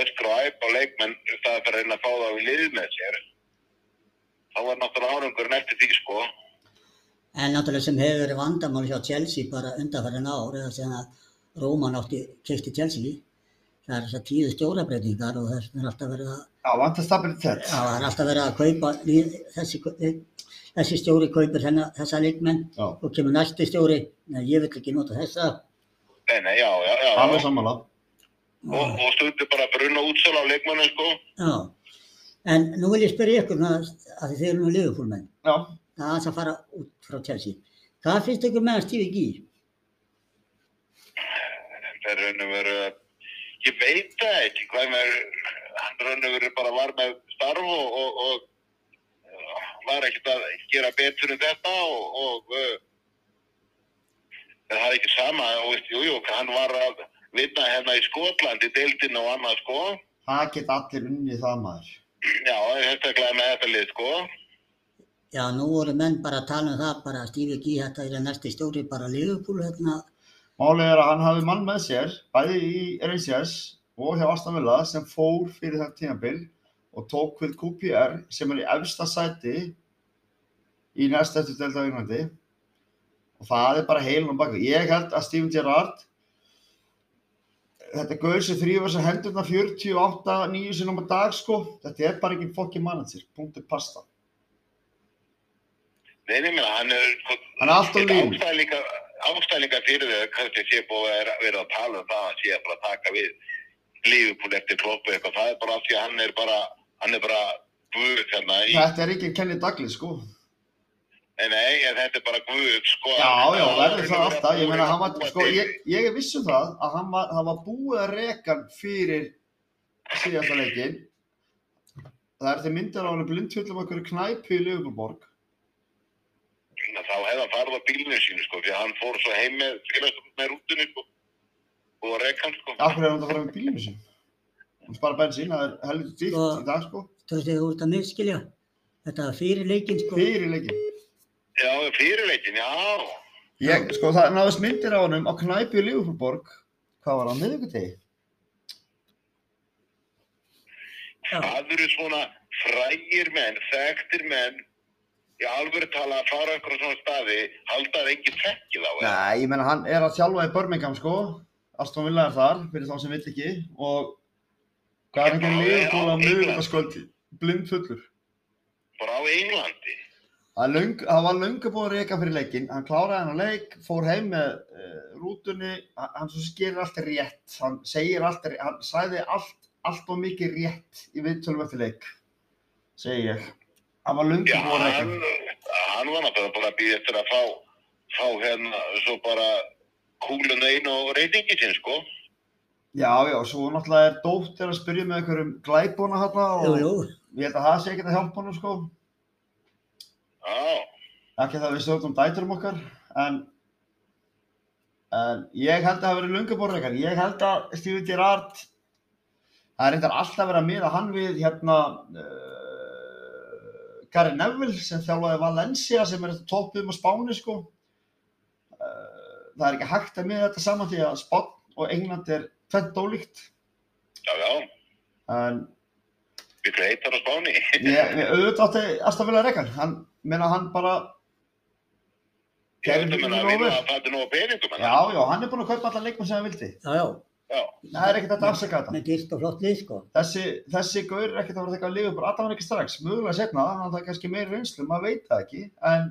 Speaker 3: öskra og æpa á leikmenn í staði fyrir að reyna að fá það við lið með sér, þá var náttúrulega árangurinn eftir því sko.
Speaker 2: en náttúrulega sem hefur verið vandamál hjá Chelsea bara undanfærin ár eða sem að Róman átti kefti Chelsea það er þess að tíðu stjórabreitingar og þess er alltaf verið að
Speaker 1: Já, vantar stabilitet
Speaker 2: það er alltaf verið að kaupa lið- þessi, þessi stjóri kaupir hennar, þessa leikmenn
Speaker 1: Já,
Speaker 2: og kemur næsti stjóri nei, ég vil ekki nota þessa
Speaker 3: Nei, nei, já, já, já.
Speaker 1: alveg sammála
Speaker 3: Og, og stundu bara brunna útsala á leikmennu sko.
Speaker 2: já. en nú vil ég spyrja ykkur að, að þið eru nú liðupúlmenn
Speaker 1: Já,
Speaker 2: það er aðeins að fara út frá Chelsea hvað finnst ykkur með að stífi í?
Speaker 3: Það er raunum verið að, ég veit það ekki, hvað með, hann raunum verið bara var með starf og, og, og uh, var ekkert að gera betur en þetta og, og uh, það er ekki sama og veist, jú, jú, hann var að vinna hérna í Skotlandi, deildinu og annað sko,
Speaker 1: það geta allir unnið það maður
Speaker 3: já, sérstaklega með þetta lið sko,
Speaker 2: já nú voru menn bara að tala um það bara að stífi í þetta er næsti stjóri bara liðupúl hérna
Speaker 1: Málið er að hann hafi mann með sér, bæði í Rangers og hjá Aston Villa sem fór fyrir þetta tímabil og tók við QPR sem er í efsta sæti í næst eftir delta á Englandi og það er bara heilin og baka. Ég held að Steven Gerrard, þetta gauður sem þrýfa sem hendurna 48, 9 sinum á dag sko, þetta er bara ekki fokkin manager, punktur pasta.
Speaker 3: nei, nei, minna, hann er, sko,
Speaker 1: Hann er alltaf líf.
Speaker 3: ástæðlinga, ástæðlinga fyrir því að kannski sé búið að vera- vera að tala um það að hann sé að bara taka við lífupúl eftir kloppu eitthvað, það er bara af því að hann er bara, hann er bara guð hérna í,
Speaker 1: Þetta er ekki Kenny Douglas sko.
Speaker 3: nei, nei, en þetta er bara guð, sko.
Speaker 1: Já, já, verður það alltaf, ég meina, hann var, sko, ég, ég er viss um það að hann var, hann var búið að reka hann fyrir síðasta leikinn. Það er þeir myndir á hann blindfjöldum okkur knæpi í Liverpoolborg.
Speaker 3: Þá hefði hann farið á bílinu sínu, sko, því að hann fór svo heim með félagsum með rútunni, sko, og rekkan, sko.
Speaker 1: Akkur er hann að fara með bílinu sín? Hún spara bensín, það er helviti dýrt
Speaker 2: Sko-
Speaker 1: í dag, sko,
Speaker 2: þú veist þú ert að miskilja þetta var fyrir leikinn sko
Speaker 1: fyrir leikinn.
Speaker 3: Já, fyrirleikin, já.
Speaker 1: Ég, sko, það náðist myndir á hann á knæpi í Liverpoolborg. Hvað var hann, miðvikudegi?
Speaker 2: já,
Speaker 3: Það eru svona frægir menn, þekktir menn, í alvöru tala að fara okkur á svona staði, halda að enginn þekki þá. eða?
Speaker 1: Nei, ég meina hann er að þjálfa í Birmingham sko, Aston Villa er þar, fyrir þá sem vill ekki og hvað er ekki að liðbúla á mögultaskvöld blind fullur.
Speaker 3: Bara á Englandi.
Speaker 1: Það er löng- það var löngu búin að reyka fyrir leikinn, hann kláraði hann á leik, fór heim með uh, rútunni, hann hann svo skerir allt rétt, hann segir allt, ré- hann sagði allt, allt og mikið rétt í viðtölum eftir leik, segi ég. Hann var löngu
Speaker 3: Já,
Speaker 1: búin að
Speaker 3: hann,
Speaker 1: reyka.
Speaker 3: hann var náttúrulega bara að býða eftir að fá, fá hérna svo bara kúlun einu og reytingi sinn, sko.
Speaker 1: Já, já, svo náttúrulega er dóttir að spyrja með einhverjum glæbóna hérna og
Speaker 2: jú, jú,
Speaker 1: ég held að það sé ekkert að hjálpa hann sko.
Speaker 3: Já,
Speaker 1: ekki það við stjórnum dæturum okkar en, en ég held að það verið lungaborðleikar ég held að Steven Gerrard það er reyndar alltaf verið að miða hann við hérna uh, Gary Neville sem þjálfaði Valencia sem er toppum á Spáni sko uh, það er ekki hægt að miða þetta saman því að Spán og England er fendt ólíkt
Speaker 3: já, já,
Speaker 1: en
Speaker 3: við greitar á Spáni.
Speaker 1: ég, ég auðvitað átti alltaf vilja reikar hann, meina hann bara
Speaker 3: Ég veit
Speaker 1: Gerðu
Speaker 3: um henni að
Speaker 1: hlutina
Speaker 3: vinna
Speaker 1: nógu vel.
Speaker 3: að fæta nóg peningum henni.
Speaker 1: Já, já, hann er búinn að kaupa alla leikmenn sem hann vildi.
Speaker 2: já, já
Speaker 3: Já,
Speaker 1: Það er ekkert hægt að afsaka þetta.
Speaker 2: með dýrt og flott lið sko
Speaker 1: Þessi, þessi gaur er ekkert að vera eitthvað að lifa bara alltaf hann ekki strax. Mögulega setna, hann það er kannski meiri reynslu, maður veit það ekki, en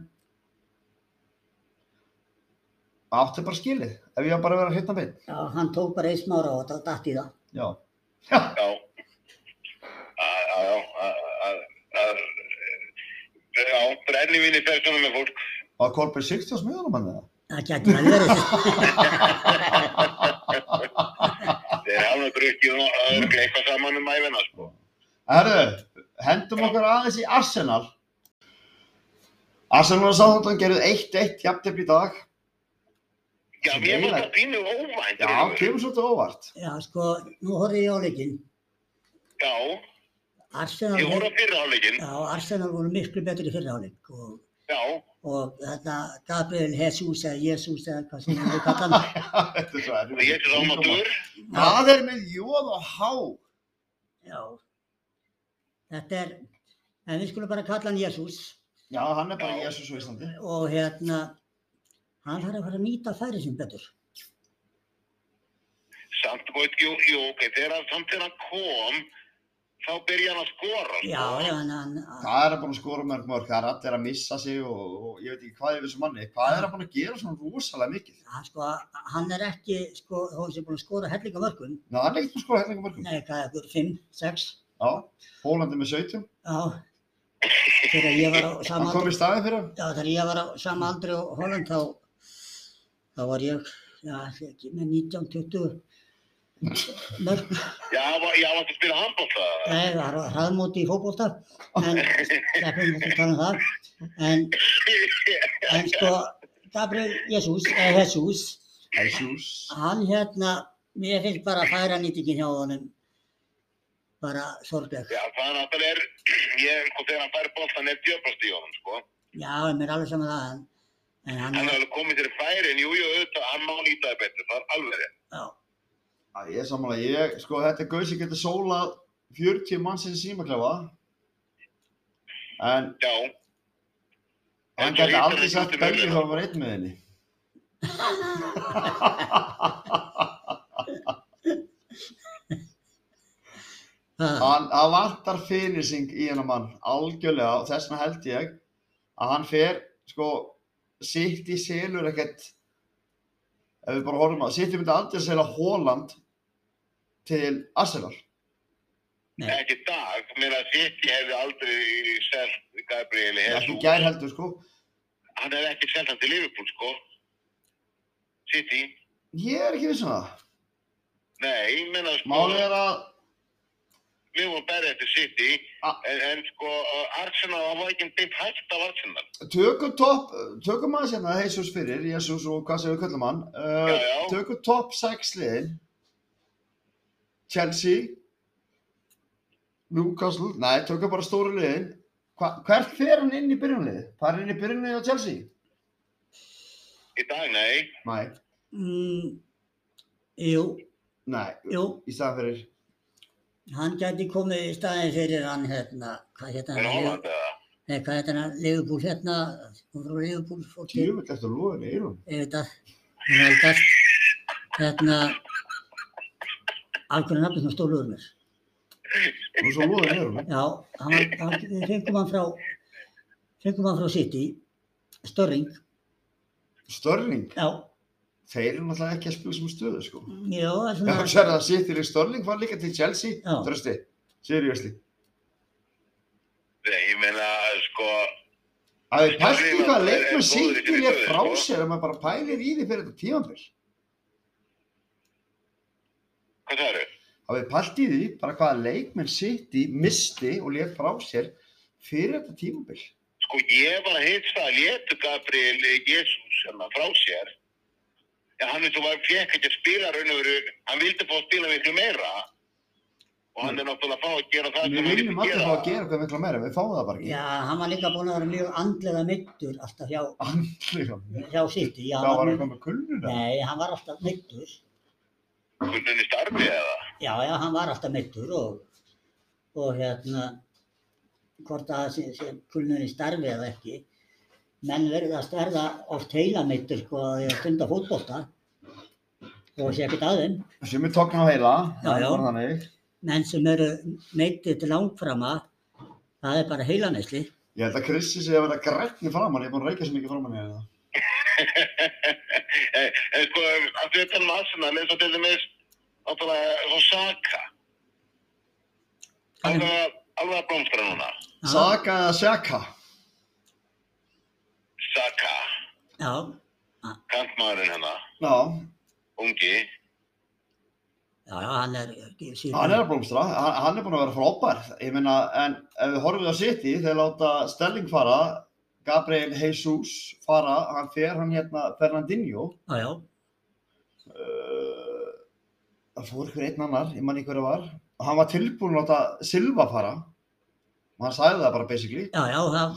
Speaker 1: maður átti bara skilið, ef ég var bara að vera hérna beinn.
Speaker 2: Já, hann tók bara einn smára og þetta datt í það.
Speaker 1: Já.
Speaker 3: já. Að- að- Já, að- að- að- já, brennivíni fer svona með fólk.
Speaker 1: Var Kolbjörn 60 smiðunum hann eða?
Speaker 2: Það gæti vel verið.
Speaker 3: Þeir hafa drukkið og öðrugglega eitthvað saman um æfina, sko.
Speaker 1: Herðu, hendum okkar aðeins í Arsenal. Arsenal og Sáþóttan gerðu 1-1 jafntefn í dag.
Speaker 3: Já,
Speaker 1: Sem
Speaker 3: mér fannst
Speaker 1: eiginlega-
Speaker 3: það pínu óvænt.
Speaker 1: Já,
Speaker 3: Reynir.
Speaker 1: kemur svolítið óvart.
Speaker 2: Já, sko, nú horfði ég á leikinn.
Speaker 3: Já,
Speaker 2: Arsenal,
Speaker 3: Ég voru á
Speaker 2: hef,
Speaker 3: fyrirháleikin,
Speaker 2: já, Arsenal voru miklu betri í fyrirháleik og,
Speaker 3: já,
Speaker 2: og þetta Gabriel Jesus eða Jesus eða hvað sem við kallar hann.
Speaker 1: Þetta er svo
Speaker 3: og ég er rámatur,
Speaker 1: Það er með jóð og há.
Speaker 2: Já, þetta er, en við skulum bara kalla hann Jesus
Speaker 1: Já, hann er bara
Speaker 3: Já.
Speaker 1: Jésús á Íslandi.
Speaker 2: og hérna, hann þarf að fara að nýta færi sem betur.
Speaker 3: samt og eitt, jú, jú, ok, þegar hann, samt þegar hann kom, þá byrja hann að skora. sko.
Speaker 2: Já, já, hann, hann,
Speaker 1: Það er að búin að skora mörg mörg, það er allir að missa sig og, og ég veit ekki hvað er við þessum manni. Hvað er að búin að gera svona rosalega mikið?
Speaker 2: hann, sko, hann er ekki, sko, þó sem búin að skora hellinga mörgum,
Speaker 1: Ná, hann er ekkert búin að skora hellinga mörgum.
Speaker 2: nei, hvað, einhver fimm, sex,
Speaker 1: Já, Hólandi með 17,
Speaker 2: já, þegar ég var á
Speaker 1: hann
Speaker 2: sama
Speaker 1: kom í staðin fyrir hann.
Speaker 2: Já, þegar ég var á sama aldri og Holland þá, þá var ég, já, ekki með 19-20 mörg,
Speaker 3: Já, hann var- já, hann var að spila handbólta.
Speaker 2: nei, það var hraðmóti í fótbolta, en sleppum við að tala um það, en, en sko, Gabriel Jesus, eða Jesus,
Speaker 1: Jésús.
Speaker 2: hann hérna, mér finnst bara að færa nýtingin hjá honum, bara sorgleg.
Speaker 3: Já, það er náttúrulega, er, ég, sko, þegar hann fær bóltan er djöfast í honum, sko.
Speaker 2: Já, mér er alveg saman það, en, en hann,
Speaker 3: Hann er
Speaker 2: er-
Speaker 3: alveg komið sér í færin, jú, jú, auðvitað, hann má nýta það betur, það er alveg rétt.
Speaker 2: já,
Speaker 1: Já, ég er samanlega, ég, sko, þetta er gauð sem getur sólað 40 mannsins í símaklefa. En
Speaker 3: Já,
Speaker 1: hann
Speaker 3: En
Speaker 1: gæti
Speaker 3: svo lítur
Speaker 1: aldrei
Speaker 3: hann
Speaker 1: sett
Speaker 3: út um
Speaker 1: Belgi
Speaker 3: hurðina.
Speaker 1: þá hann var einn með henni.
Speaker 2: það,
Speaker 1: Hann hann vantar finishing í hennar mann, algjörlega, og þess vegna held ég að hann fer, sko, sitt í selur ekkert, ef við bara horfum að, sitt í myndi aldrei að selja Holland til Arsenal.
Speaker 2: Nei.
Speaker 3: ekki í dag, mér að City hefði aldrei selt Gabriel
Speaker 1: Ekki
Speaker 3: Jesus.
Speaker 1: gær heldur, sko.
Speaker 3: Hann hefði ekki selt hann til Liverpool, sko. City,
Speaker 1: Ég er ekki viss um það.
Speaker 3: nei, ég meina sko,
Speaker 1: Málið er að
Speaker 3: við vorum berið eftir City,
Speaker 1: A-
Speaker 3: en, en sko, Arsenal, hann var ekki einn beint hægt af Arsenal.
Speaker 1: tökum topp, tökum aðeins hérna, Jesus fyrir, Jesus og hvað sem við köllum hann,
Speaker 3: Já,
Speaker 1: uh,
Speaker 3: já.
Speaker 1: tökum topp 6 liðin, Chelsea, Newcastle, nei, tökum bara stóru liðin, Hva, hvert fer hann inn í byrjunlið? Hvað er inn í byrjunlið á Chelsea?
Speaker 3: Í dag, nei,
Speaker 1: Nei,
Speaker 2: mm, jú,
Speaker 1: nei,
Speaker 2: jú,
Speaker 1: í staðan fyrir,
Speaker 2: Hann gæti komið í staðin fyrir hann hérna, hvað hérna
Speaker 3: en
Speaker 2: hann,
Speaker 3: Holland, eða?
Speaker 2: nei, hvað hérna hann, Leifubúl hérna, hún frá Leifubúl fólki,
Speaker 1: tjöfull eftir lóðin í eirum.
Speaker 2: ég veit að, hún heldast, hérna, af hverju nafnir sem stóluður mér.
Speaker 1: Og svo lóðin í eirum.
Speaker 2: Já, hann, var- hann, við fengum hann frá, fengum hann frá City, Störring,
Speaker 1: Störling,
Speaker 2: já,
Speaker 1: þeir eru náttúrulega ekki að spila sem stöðu, sko.
Speaker 2: já, það
Speaker 1: Já,
Speaker 2: er
Speaker 1: þú
Speaker 2: svona,
Speaker 1: sér það, Sittileg Störling var líka til Chelsea,
Speaker 2: Já.
Speaker 1: trösti, seriously.
Speaker 3: Nei, ég meina, sko,
Speaker 1: Það er pælt í hvað
Speaker 3: Skrifa-
Speaker 1: leiknum
Speaker 3: er- er góður í
Speaker 1: sýttir ég
Speaker 3: stöðu,
Speaker 1: frá
Speaker 3: sko.
Speaker 1: sér ef maður bara pælir í því fyrir þetta tímanfél.
Speaker 3: hvað það eru?
Speaker 1: Það er pælt í því bara hvaða leikmenn sýtti, misti og létt frá sér fyrir þetta tímanfél.
Speaker 3: Sko, ég var að hitsa að letu Gabriel Jesus hérna frá sér. En hann eins og var fekk ekki að spila raun og veru, hann vildi fá að spila miklu meira. Og hann er náttúrulega að fá að gera það
Speaker 1: Við
Speaker 3: hann
Speaker 1: viljum allir fá að gera hvað mikla meira, við fáum það bara
Speaker 2: já,
Speaker 1: ekki.
Speaker 2: hann var líka búinn að vera mjög andlega myndur alltaf hjá,
Speaker 1: Andlega.
Speaker 2: hjá City, já,
Speaker 1: Það
Speaker 2: hann
Speaker 1: var
Speaker 2: var
Speaker 1: eitthvað
Speaker 2: mjög,
Speaker 1: með kulnuna.
Speaker 2: nei, hann var alltaf myndur.
Speaker 3: Kunninni starfi eða?
Speaker 2: Já, já, hann var alltaf meittur og, og hérna, hvort að það sé, sé kulnurinn starfi eða ekki. Menn verðast verða oft heilameittur sko að því að stunda fótbolta og sé ekkert aðeim.
Speaker 1: Sem er tókn á heila.
Speaker 2: Já,
Speaker 1: það er
Speaker 2: já.
Speaker 1: bara þannig.
Speaker 2: Menn sem eru meittir til langframa, það er bara heilameisli.
Speaker 1: Ég held að Krissi sé að vera grætni framann, ég er búin að reykja svo mikið framann hérna.
Speaker 3: en, en sko, að því að tala um Arsenal eins og til dæmis, náttúrulega, svo Saka.
Speaker 2: Hann-
Speaker 3: Alveg að- alveg að blómstra núna.
Speaker 2: Já,
Speaker 1: Saka eða Sjaka?
Speaker 3: Saka,
Speaker 2: já,
Speaker 3: kantmaðurinn hérna,
Speaker 1: Já,
Speaker 3: ungi.
Speaker 2: já, já, hann er...
Speaker 1: hann er að blómstra, hann hann er búin að vera frábær. Ég meina, en ef við horfum við á City, þeir láta Stelling fara, Gabriel Jesus fara, hann fer hann hérna Fernandinho.
Speaker 2: Já, já,
Speaker 1: Uh, það fór ykkur einn annar, ég man ekki hver það var. Og hann var tilbúin að láta Silva fara. og hann sagði það bara basically
Speaker 2: Já, já, það,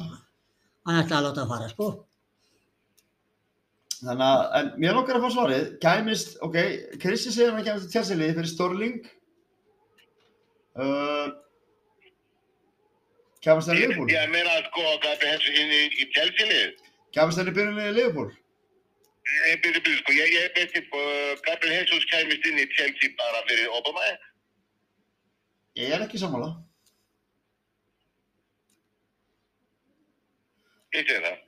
Speaker 2: hann ætlaði að láta það fara, sko.
Speaker 1: þannig að, en mér langar að fá svarið kæmist, ok, Kristi segir hann kæmist til Chelsea-lið fyrir Storling uh, kæmist hann í
Speaker 3: Ég,
Speaker 1: Liverpool
Speaker 3: ég meina sko að gæti hensu inn í, í tjálsilið.
Speaker 1: kæmist hann í byrjunni í Liverpool
Speaker 3: Ég byrju byrju sko, ég, ég veit ekki, Gabriel Jesus kæmist inn í Chelsea bara fyrir Obama.
Speaker 1: ég er ekki sammála
Speaker 3: Ég segi það.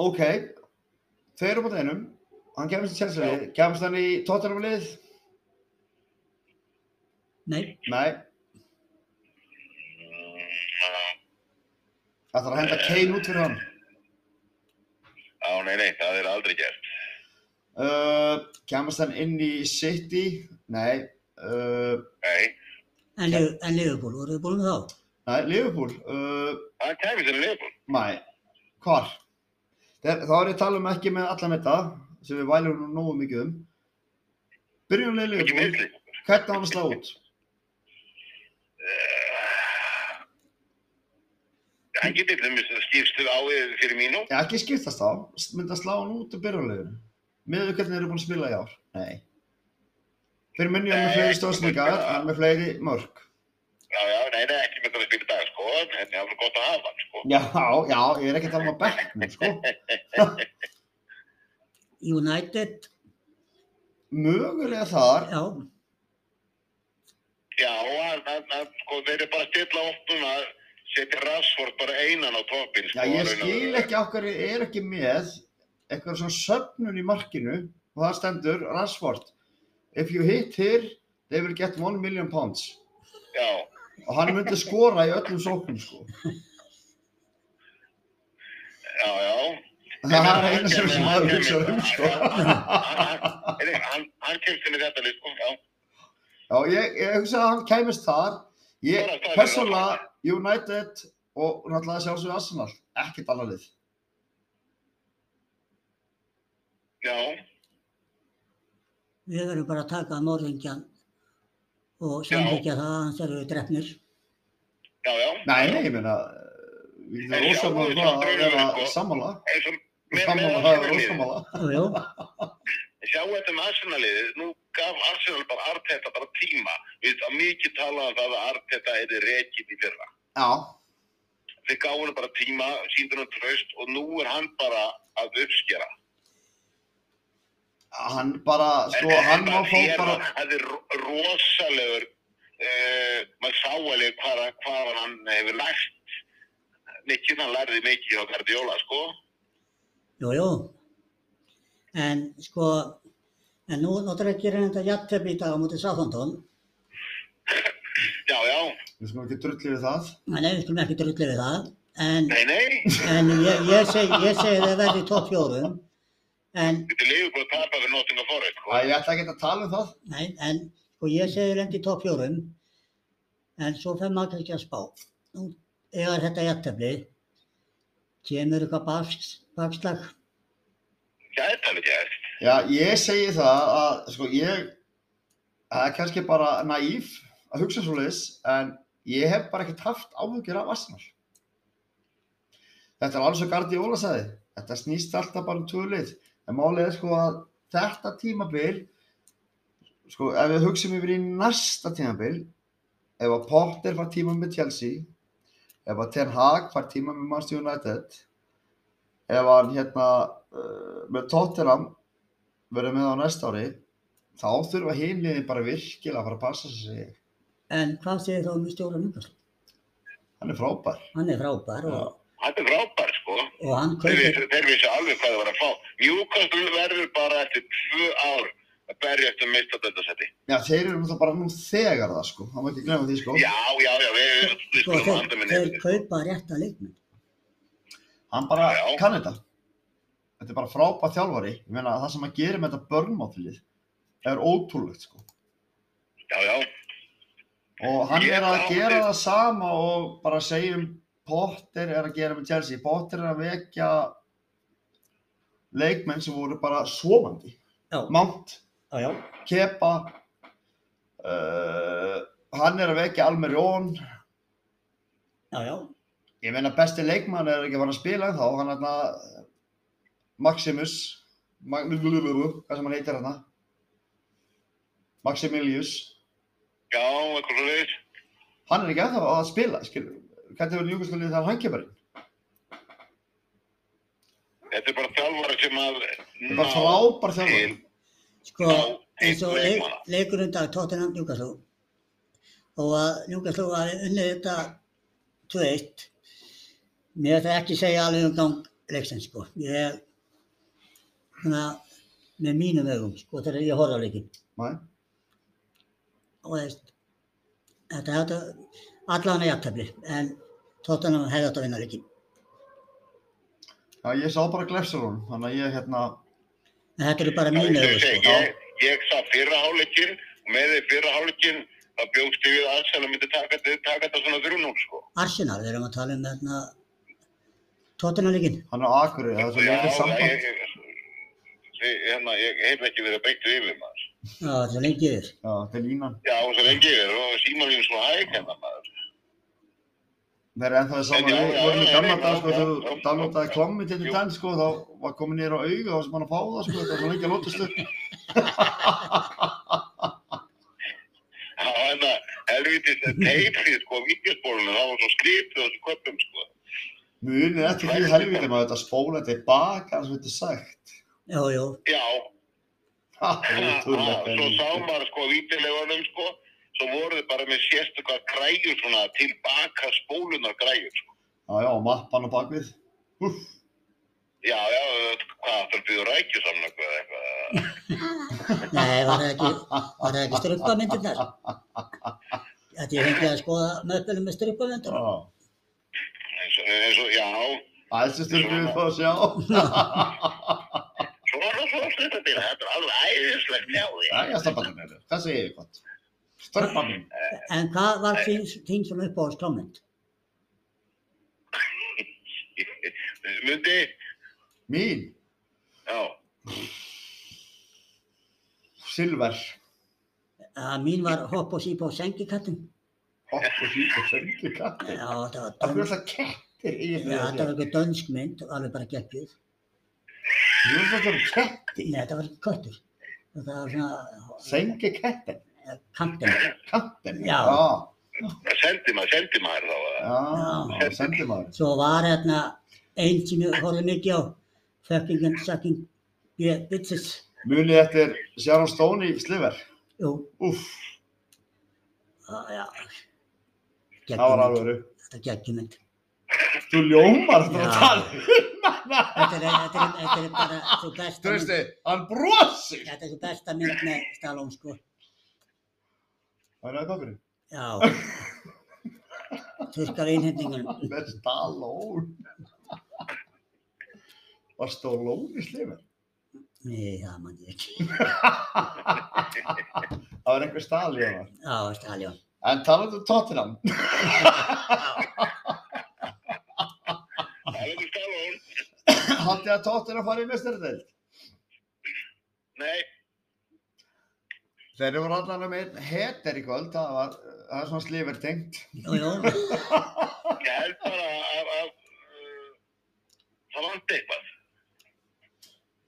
Speaker 1: ok, þau eru búin einum hann kæmist til Chelsea-lið, kæmist hann í Tottenham-lið
Speaker 2: Nei,
Speaker 1: nei, það þarf að henda Kane út fyrir hann
Speaker 3: Á, nei, nei, það er aldrei gert.
Speaker 1: uh, kæmist hann inn í City nei, uh,
Speaker 3: Nei,
Speaker 2: en, ja. en Liverpool, voruð þið búin með þá?
Speaker 1: nei, Liverpool uh,
Speaker 3: hann kæmist inn í Liverpool.
Speaker 1: Nei, hvar? Þegar, þá er ég að tala um ekki með allan þetta sem við vælum nú nógu mikið um Byrjunlega Liverpool,
Speaker 3: Ekki meðsli.
Speaker 1: hvernig á hann að slá út?
Speaker 3: Uh, Hann getur til dæmis skipst til ávið fyrir mínu.
Speaker 1: Já, ekki skiptast þá, myndi að slá hann út í byrjunleginu með því hvernig þeir eru búin að spila í ár Nei Fyrir minni hann með fleiri stóðsningar, hann með fleiri mörg
Speaker 3: Já, já, nei, nei, ekki með það að spila í dag sko, en það er alveg gott að hafa hann sko.
Speaker 1: Já, já, ég er ekki að tala um að bekknum, sko
Speaker 2: United,
Speaker 1: Mögulega þar,
Speaker 2: já,
Speaker 3: Já, og hann, hann, hann, sko, þeir eru bara að stilla upp núna, setja Rashford bara einan á toppinn sko.
Speaker 1: já, ég
Speaker 3: raun og
Speaker 1: skil
Speaker 3: veru.
Speaker 1: ekki okkur er ekki með eitthvað svona söfnun í markinu og það stendur Rashford if you hit here they will get one million pounds
Speaker 3: Já,
Speaker 1: og hann myndi skora í öllum sóknum sko
Speaker 3: já, já.
Speaker 1: það er eina sem sem maður hugsa um sko
Speaker 3: hérna. Hann- hann- hann- hann kemst inn í þetta lið sko, já.
Speaker 1: já ég, ég hugsa að hann kæmist þar ég persónulega United og náttúrulega sjálfsög Arsenal ekkert annað lið
Speaker 3: já,
Speaker 2: við verðum bara að taka morðingjan og samþykja það að hans eru drefnir.
Speaker 3: já, já.
Speaker 1: nei nei ég meina við erum ósamála það að vera sammála
Speaker 3: Eins og með- með
Speaker 1: sammála það að vera
Speaker 3: Arsenal-liðið.
Speaker 1: ósamála
Speaker 2: Jú, jú,
Speaker 3: sjá þetta með Arsenalið, nú gaf Arsenal bara Arteta bara tíma við að mikið talað um það að Arteta er reikið í fyrra.
Speaker 1: já
Speaker 3: Þeir gáðu hann bara tíma, síndu hann tröst og nú er hann bara að uppskjara.
Speaker 1: hann bara, sko, hann má fá bara
Speaker 3: Það er ro- rosalegur, uh, maður sá alveg hvað, hvað hann hefur lært. Mikið hann lærði mikið hjá Guardiola, sko.
Speaker 2: jú, jú. En sko, en nú náttúrulega gerir hann þetta jafntefni í dag á mótið Sáþondón.
Speaker 3: Já, já,
Speaker 1: við skulum ekki drullið við það
Speaker 2: Nei, við skulum ekki drulli við það. En,
Speaker 3: nei, nei,
Speaker 2: en ég, ég segi ég seg það verði í topp fjórum. En
Speaker 3: þetta leiður bara að tapa við Nottingham Forest, sko.
Speaker 1: að ég ætla ekki að tala um það
Speaker 2: Nei, en sko ég segi lendi í topp fjórum, en svo fer maður kannski að spá. Nú, ef er þetta jættefli, kemur eitthvað baks, bakslag,
Speaker 3: Gæti alveg gæst.
Speaker 1: já, ég segi það að, sko, ég það er kannski bara naíf að hugsa svo leis, en ég hef bara ekkert haft áhugjur af Arsenal þetta er alveg svo Gardi Óla sagði, þetta snýst alltaf bara um tölið, en málið er sko að þetta tímabil sko, ef við hugsum yfir í næsta tímabil ef að Potter fær tíma með Chelsea ef að Ten Hag fær tíma með Manchester United ef að hann hérna uh, með Tottenham verður með á næsta ári þá þurfa hinliðin bara virkilega að fara að passa sig
Speaker 2: en hvað segir þá um stjóran Ungarsson?
Speaker 1: hann er frábær
Speaker 2: Hann er frábær og,
Speaker 3: Þetta er frábær, sko.
Speaker 2: og hann
Speaker 3: Þeir
Speaker 2: kaupir,
Speaker 3: vissu- þeir vissu alveg hvað það var að fá. Newcastle verður bara eftir tvö ár að berjast um mista þetta seti.
Speaker 1: já þeir eru náttúrulega bara nú þegar það sko hann var ekki að glemja því sko
Speaker 3: Já, já, já, við, við,
Speaker 2: sko
Speaker 3: við skulum
Speaker 2: þeir,
Speaker 3: handa með
Speaker 2: þeir
Speaker 3: nefnir.
Speaker 2: kaupa rétta leikmenn.
Speaker 1: hann bara
Speaker 3: Já.
Speaker 1: kann þetta þetta er bara frábær þjálfari ég meina það sem hann gerir með þetta börnmáttilið er ótrúlegt sko
Speaker 3: Já, já,
Speaker 1: og hann
Speaker 3: Ég
Speaker 1: er að
Speaker 3: átti-
Speaker 1: gera það sama og bara segjum Potter er að gera með Chelsea Potter er að vekja leikmenn sem voru bara svovandi
Speaker 2: Já,
Speaker 1: Mount,
Speaker 2: já, já,
Speaker 1: eh, Kepa uh, hann er að vekja Almirón
Speaker 2: já, já,
Speaker 1: Ég meina besti leikmann er ekki að fara að spila þá, hann er þarna Maximus, Mag hvað sem hann heitir þarna, Maximilius,
Speaker 3: Já, eitthvað svo leiðis.
Speaker 1: hann er ekki að að spila, skilur, hvernig verður Júkoslunnið þegar hann kemur inn?
Speaker 3: Þetta er bara þjálfara sem að
Speaker 1: Það er bara frábær þjálfari.
Speaker 2: sko,
Speaker 3: Já,
Speaker 2: eins og
Speaker 3: einn
Speaker 2: leik,
Speaker 3: leikmaður.
Speaker 2: leikurinn í dag, Tottenham, Newcastle og að Newcastle var unnið þetta 2-1 mér ætla ekki að segja alveg um gang leiksins, sko ég, svona, með mínum augum, sko, þegar ég horfði á leikinn
Speaker 1: Nei,
Speaker 2: og veist, þetta hefði allan að jafntefli, en Tottenham hefði átt að vinna leikinn
Speaker 1: Já, ég sá bara glefsir honum, þannig að ég hérna,
Speaker 2: en þetta eru bara
Speaker 3: Já,
Speaker 2: mínu
Speaker 3: ég,
Speaker 2: augur,
Speaker 3: segi,
Speaker 2: sko
Speaker 3: ég, ég sá fyrra hálutin og með því fyrra hálutin þá bjóðst ég við að Arsenal myndi taka, taka þetta svona 3-0 sko.
Speaker 2: Arsenal, við erum að tala um þarna Tottenham leikinn
Speaker 1: hann er á Akureyri, það er svo lengið
Speaker 3: ég,
Speaker 1: samband.
Speaker 3: ég, ég- hérna, ég hef ekki verið beittu yfir maður.
Speaker 2: já, þetta er lengið yfir
Speaker 1: Já, þetta er línan.
Speaker 3: Já, og svo lengi yfir og símanum svona hæg hérna maður.
Speaker 1: Þeir eru ennþá þess að
Speaker 3: Já,
Speaker 1: við
Speaker 3: já,
Speaker 1: vorum í
Speaker 3: já,
Speaker 1: gamla
Speaker 3: já,
Speaker 1: dag, sko,
Speaker 3: já,
Speaker 1: þegar þú
Speaker 3: já, já,
Speaker 1: downloadaði
Speaker 3: já.
Speaker 1: klommi til
Speaker 3: Jú.
Speaker 1: þetta, sko, þá var komin niður á auga, þá sem hann að fá það, sko, þetta var svo lengi að lótast upp.
Speaker 3: Já, hérna, helvítið, teipið sko, vídeospólunum, það var svo slítið á þessu köpum sko.
Speaker 1: Munið eftir því helviti maður þetta spóla tilbaka, eins og þetta er sagt.
Speaker 2: jú, jú,
Speaker 3: Já,
Speaker 1: Ha,
Speaker 3: Ha,
Speaker 1: það er
Speaker 3: ha,
Speaker 1: ótrúlegt,
Speaker 3: svo sá
Speaker 1: helvíti.
Speaker 3: maður sko vítilegunum sko svo voru þið bara með sérstakar græjur svona tilbaka spólunar græjur sko.
Speaker 1: Já, já, mappan á bakvið. Úff,
Speaker 3: já, já, hvað þarf við rækju saman eitthvað eitthvað
Speaker 2: nei, var það ekki var það ekki strupamyndirnar þetta ég fengi að skoða möppunum með strupamyndur
Speaker 1: já.
Speaker 3: eins, og- eins og, já,
Speaker 1: Æsir styrkjum við þá að sjá.
Speaker 3: svona svona þetta til þetta er alveg æðislegt já, já
Speaker 1: Jæja, stafbannir meður. Hvað segir ég gott? Störpa mín.
Speaker 2: en hvað var þín, þín svona uppáhaldskomment?
Speaker 3: myndi,
Speaker 1: Mín.
Speaker 3: já,
Speaker 1: Silver.
Speaker 2: að mín var hopp og síp á sengikattin
Speaker 1: Hopp og hýp og söngi
Speaker 2: já,
Speaker 1: kattir.
Speaker 2: þetta var
Speaker 1: Það fyrir
Speaker 2: dönsk
Speaker 1: alltaf kettir í
Speaker 2: já, þetta var
Speaker 1: þetta.
Speaker 2: eitthvað dönsk mynd, alveg bara geggjuð
Speaker 1: Þú veist þetta um kettir.
Speaker 2: nei, þetta var köttur þetta var svona
Speaker 1: Sengi kettir.
Speaker 2: kantin
Speaker 1: Kattir.
Speaker 2: Já.
Speaker 3: sendi maður, sendi maður þá eða?
Speaker 1: Já, sendi maður.
Speaker 2: svo var hérna einn sem ég horfði mikið á fucking and sucking bi- bitches
Speaker 1: Munið eftir Sharon Stone í Sliver.
Speaker 2: jú,
Speaker 1: Úff,
Speaker 2: það- já
Speaker 1: það var
Speaker 2: geggjumynd,
Speaker 1: alvöru.
Speaker 2: þetta er geggjumynd
Speaker 1: Þú ljómar þetta að
Speaker 2: Já.
Speaker 1: tala um.
Speaker 2: þetta er, þetta er, þetta er bara svo besta
Speaker 1: Þú veist þið, hann brosir.
Speaker 2: Þetta er svo besta mynd með Stallone sko.
Speaker 1: Það er aðeins okkur.
Speaker 2: Já. Turkar einhendingunum.
Speaker 1: Með Stallone. Var Stallone í slifin?
Speaker 2: Nei, það mann ég ekki.
Speaker 1: Það var einhver stall í hana.
Speaker 2: Já, Stallone.
Speaker 1: En talaðu um Tottenham.
Speaker 3: það er ekki skalón,
Speaker 1: Haldið að Tottenham fari í mestaradeild?
Speaker 3: nei,
Speaker 1: Þeir eru allavega með einn heter í kvöld. Það var, það er svona slifir tengt.
Speaker 2: Jú, jú.
Speaker 3: ég held bara að, að uh, það vant eitthvað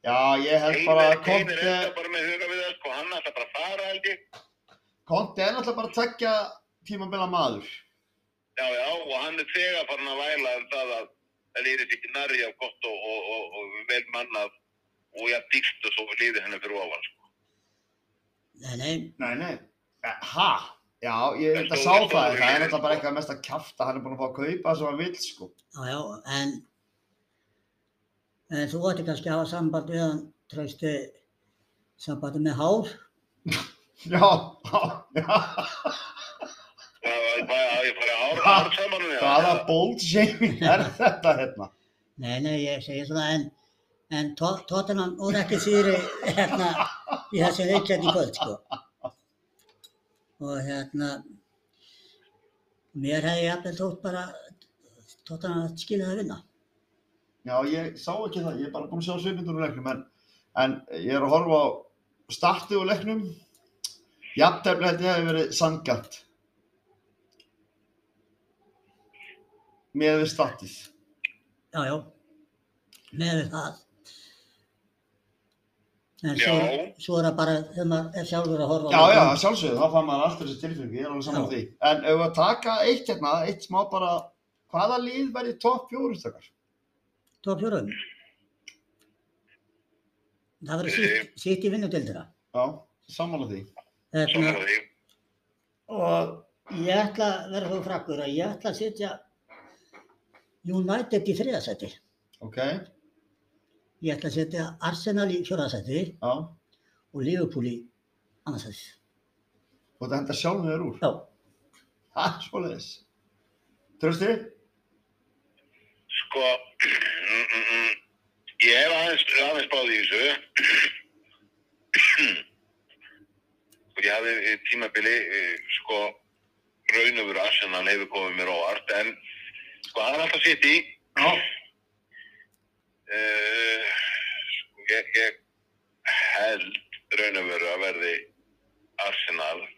Speaker 1: Já, ég held bara að
Speaker 3: Heimir Heimir
Speaker 1: Conte,
Speaker 3: er bara með huga við það sko, hann ætla bara að fara held ég
Speaker 1: Conte er náttúrulega bara að tekja tímabila maður.
Speaker 3: Já, já, og hann er þegar farin að væla um það að það lýðist ekki nærri af gott og, og, og, og vel mannað og ég dýrst og svo lýði henni fyrir ofan. sko.
Speaker 2: Nei, nei.
Speaker 1: Nei, nei. Eh, Ha? Já, ég veit að sá það. en Það er náttúrulega bara eitthvað mest að kjafta. Hann er búin að fá að kaupa það sem hann vil, sko.
Speaker 2: Já, já. En, en þú ætti kannski að hafa samband við hann, trausti sambandi með hár.
Speaker 1: Já, já, já.
Speaker 3: Það var bara að ég fari að ára
Speaker 1: Ha,
Speaker 3: ár saman um
Speaker 1: Hvaða bold shaming er þetta hérna?
Speaker 2: Nei, nei, ég segi svona en, en To- Tottenham úr ekki síðri hérna í þessi leikjandi kvöld sko. Og hérna, mér hefði jafnvel þótt bara Tottenham að skilja það vinna.
Speaker 1: Já, ég sá ekki það. Ég er bara búin að sjá svipindur úr leiknum. En, en ég er að horfa á startið úr leiknum. Jafntefni held ég hefði verið sangjant. með við statið.
Speaker 2: já, já, með við það. En
Speaker 3: Já.
Speaker 2: svo, svo er það bara, þegar maður er sjálfur að horfa á
Speaker 1: Já, já,
Speaker 2: leikinn.
Speaker 1: að sjálfsögðu, þá fann maður alltaf þessi tilfengi, ég er alveg saman á
Speaker 2: Já.
Speaker 1: því. En ef við að taka eitt hérna, eitt smá bara, hvaða líð verði topp fjóruðstakar?
Speaker 2: Top fjórum. Það
Speaker 1: Eh.
Speaker 2: verður sitt, sitt í vinnutildina.
Speaker 1: Já, saman á því.
Speaker 2: Hérna,
Speaker 3: Sammála því.
Speaker 2: Og ég ætla að vera þú frakkur að ég ætla að sitja United í þriðasæti.
Speaker 1: Ok, já,
Speaker 2: Ég ætla að setja Arsenal í fjóraðasæti
Speaker 1: þú
Speaker 2: og Liverpool í annarsæti.
Speaker 1: ert að henda sjálfum þér úr.
Speaker 2: Já,
Speaker 1: Ha, svoleiðis. Trösti?
Speaker 3: Sko, mm, mm, mm. ég hef aðeins, aðeins báði í þessu og ég hafði eh, tímabili, eh, sko, raunöfur Arsenal hefur komið mér óvart en sko, það er alltaf sitt í
Speaker 1: Já.
Speaker 3: uh, sko, ég, ég held raunöfur að verði Arsenal uh,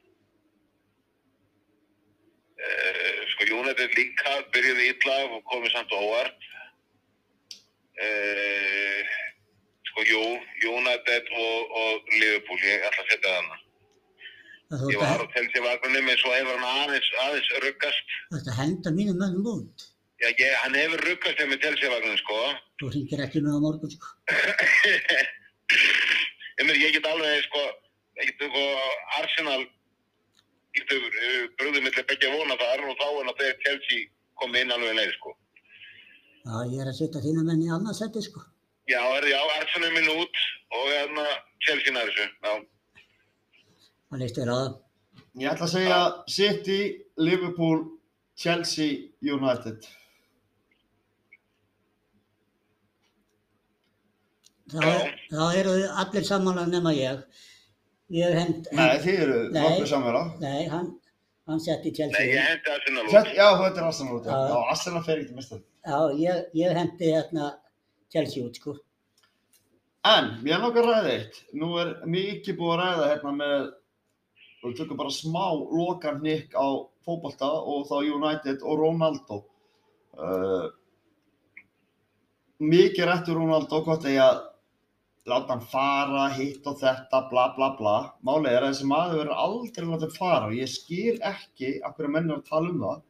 Speaker 3: sko, United líka byrjuði illa og komið samt á óvart Eh, sko, jú, United og, og Liverpool, ég ætla að setja þarna.
Speaker 2: það þú
Speaker 3: Ég
Speaker 2: ert
Speaker 3: var
Speaker 2: að-
Speaker 3: á telsi vagnum en svo hefur hann aðeins, aðeins ruggast.
Speaker 2: þú ert að henda mínum mönnum út.
Speaker 3: Já, ég, hann hefur ruggast þegar með telsi vagnum, sko.
Speaker 2: Þú ringir ekki með á morgun sko.
Speaker 3: ég, meina, ég get alveg, sko, ég get, sko, Arsenal, ég get uh, bröðum millir begja vona þar og þá en að þegar telsi kom inn alveg leið, sko.
Speaker 2: Já, ég er að setja þína menn í annarsæti sko.
Speaker 3: Já, er, já, Arsenal minn út og hérna telsi nær þessu, já.
Speaker 2: Það leist þér á það.
Speaker 1: Ég ætla að segja City, Liverpool, Chelsea, United.
Speaker 2: Þá,
Speaker 3: Já.
Speaker 2: þá eru þið allir sammála nema ég. Ég hend...
Speaker 1: Nei, þið eru
Speaker 2: Nei.
Speaker 1: nokkuð samverða.
Speaker 2: Nei, hann, hann setti Chelsea.
Speaker 3: Nei, ég hendi Arsenal út.
Speaker 1: Já, þetta er Arsenal út, já.
Speaker 2: Já.
Speaker 1: Já, Arsenal fer ekki mest
Speaker 2: Já, ég, ég hendi hérna Chelsea út sko.
Speaker 1: En, mér langar að ræða eitt. Nú er mikið búið að ræða hérna með, og við tökum bara smá lokan hnikk á fótbolta og þá United og Ronaldo. Uh, mikið rættu Ronaldo hvort eigi að láta hann fara, hitt og þetta, bla bla bla. Málið er að þessi maður verður aldrei látið fara og ég skil ekki af hverju menn er að tala um það.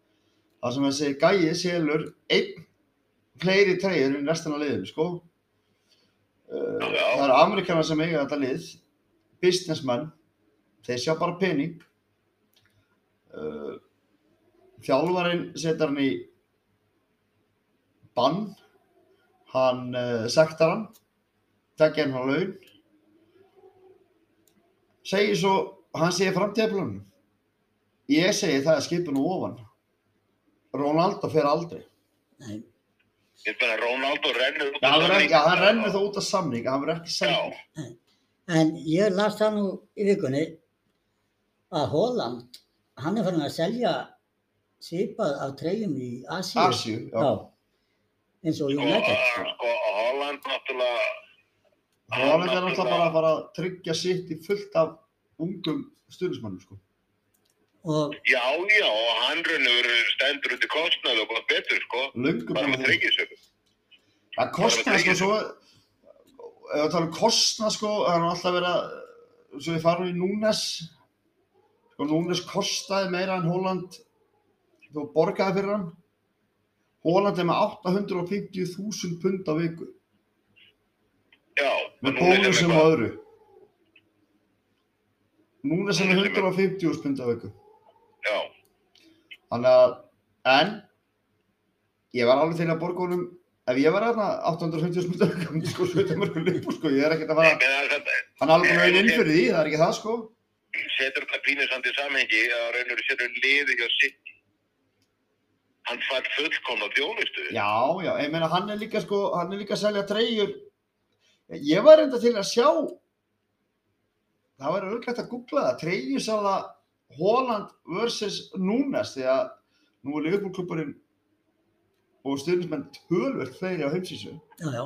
Speaker 1: Það sem þessi gæi selur einn fleiri treyjur en restina af liðinu, sko. Uh,
Speaker 3: Já.
Speaker 1: það eru Amerikanar sem eiga þetta lið, businessmenn, þeir sjá bara pening. Uh, þjálfarinn setur hann í bann, hann uh, sektar hann, tekja hann á laun, segir svo, hann segir framtíðaplunum. Ég segi það er skipinu ofan. Ronaldo fer aldrei.
Speaker 2: Nei,
Speaker 3: Ég meina, Ronaldo rennur út
Speaker 1: Já,
Speaker 3: af
Speaker 1: hann,
Speaker 3: samning.
Speaker 1: renn, já, hann rennur þá út af samning, hann verður ekki selgur.
Speaker 2: en ég las það nú í vikunni að Holland, hann er farin að selja svipað af treyjum í Asíu.
Speaker 1: Asíu, já.
Speaker 2: Já, eins og
Speaker 3: Sko,
Speaker 2: United.
Speaker 3: uh, sko, Holland náttúrulega...
Speaker 1: Holland er náttúrulega bara að fara að tryggja sitt í fullt af ungum stjórnismannum sko.
Speaker 2: Og
Speaker 3: Já, já, og hann raunur stendur út í kostnað og gott betur, sko.
Speaker 1: Löngu
Speaker 3: Bara
Speaker 1: bara
Speaker 3: með
Speaker 1: þeir.
Speaker 3: tryggisöku.
Speaker 1: Það kostna sko svo, ef við talum kostna sko, það er nú alltaf verið að, svo við farum í Núnes, sko Núnes kostaði meira en Holland, þú borgaði fyrir hann. Holland er með 850.000 pund á viku,
Speaker 3: Já.
Speaker 1: með
Speaker 3: núna er
Speaker 1: bónusum
Speaker 3: hann
Speaker 1: og
Speaker 3: eitthvað-
Speaker 1: öðru. Núnes er með 150.000 pund á viku.
Speaker 3: Já,
Speaker 1: Þannig að, en, ég var alveg til að borga honum, ef ég var aðna 850 smuttar, kom til sko 70 mörgum lippur, sko, ég er ekkert að
Speaker 3: ég
Speaker 1: fara,
Speaker 3: meina þetta,
Speaker 1: hann er alveg búin að einn inn fyrir því, það er ekki það, sko.
Speaker 3: setur þetta pínusandi samhengi að raunur setur liði hjá sitt. Hann fær fullkomna þjónustu.
Speaker 1: Já, já, ég meina, hann er líka, sko, hann er líka að selja treyjur. Ég var reynda til að sjá, það væri auðvitað að googla það, treyjusala Holland vs. Núnes, því að nú er Liverpool-klubburinn og styrnismenn tölvöld fleiri á heimsísu.
Speaker 2: já, já,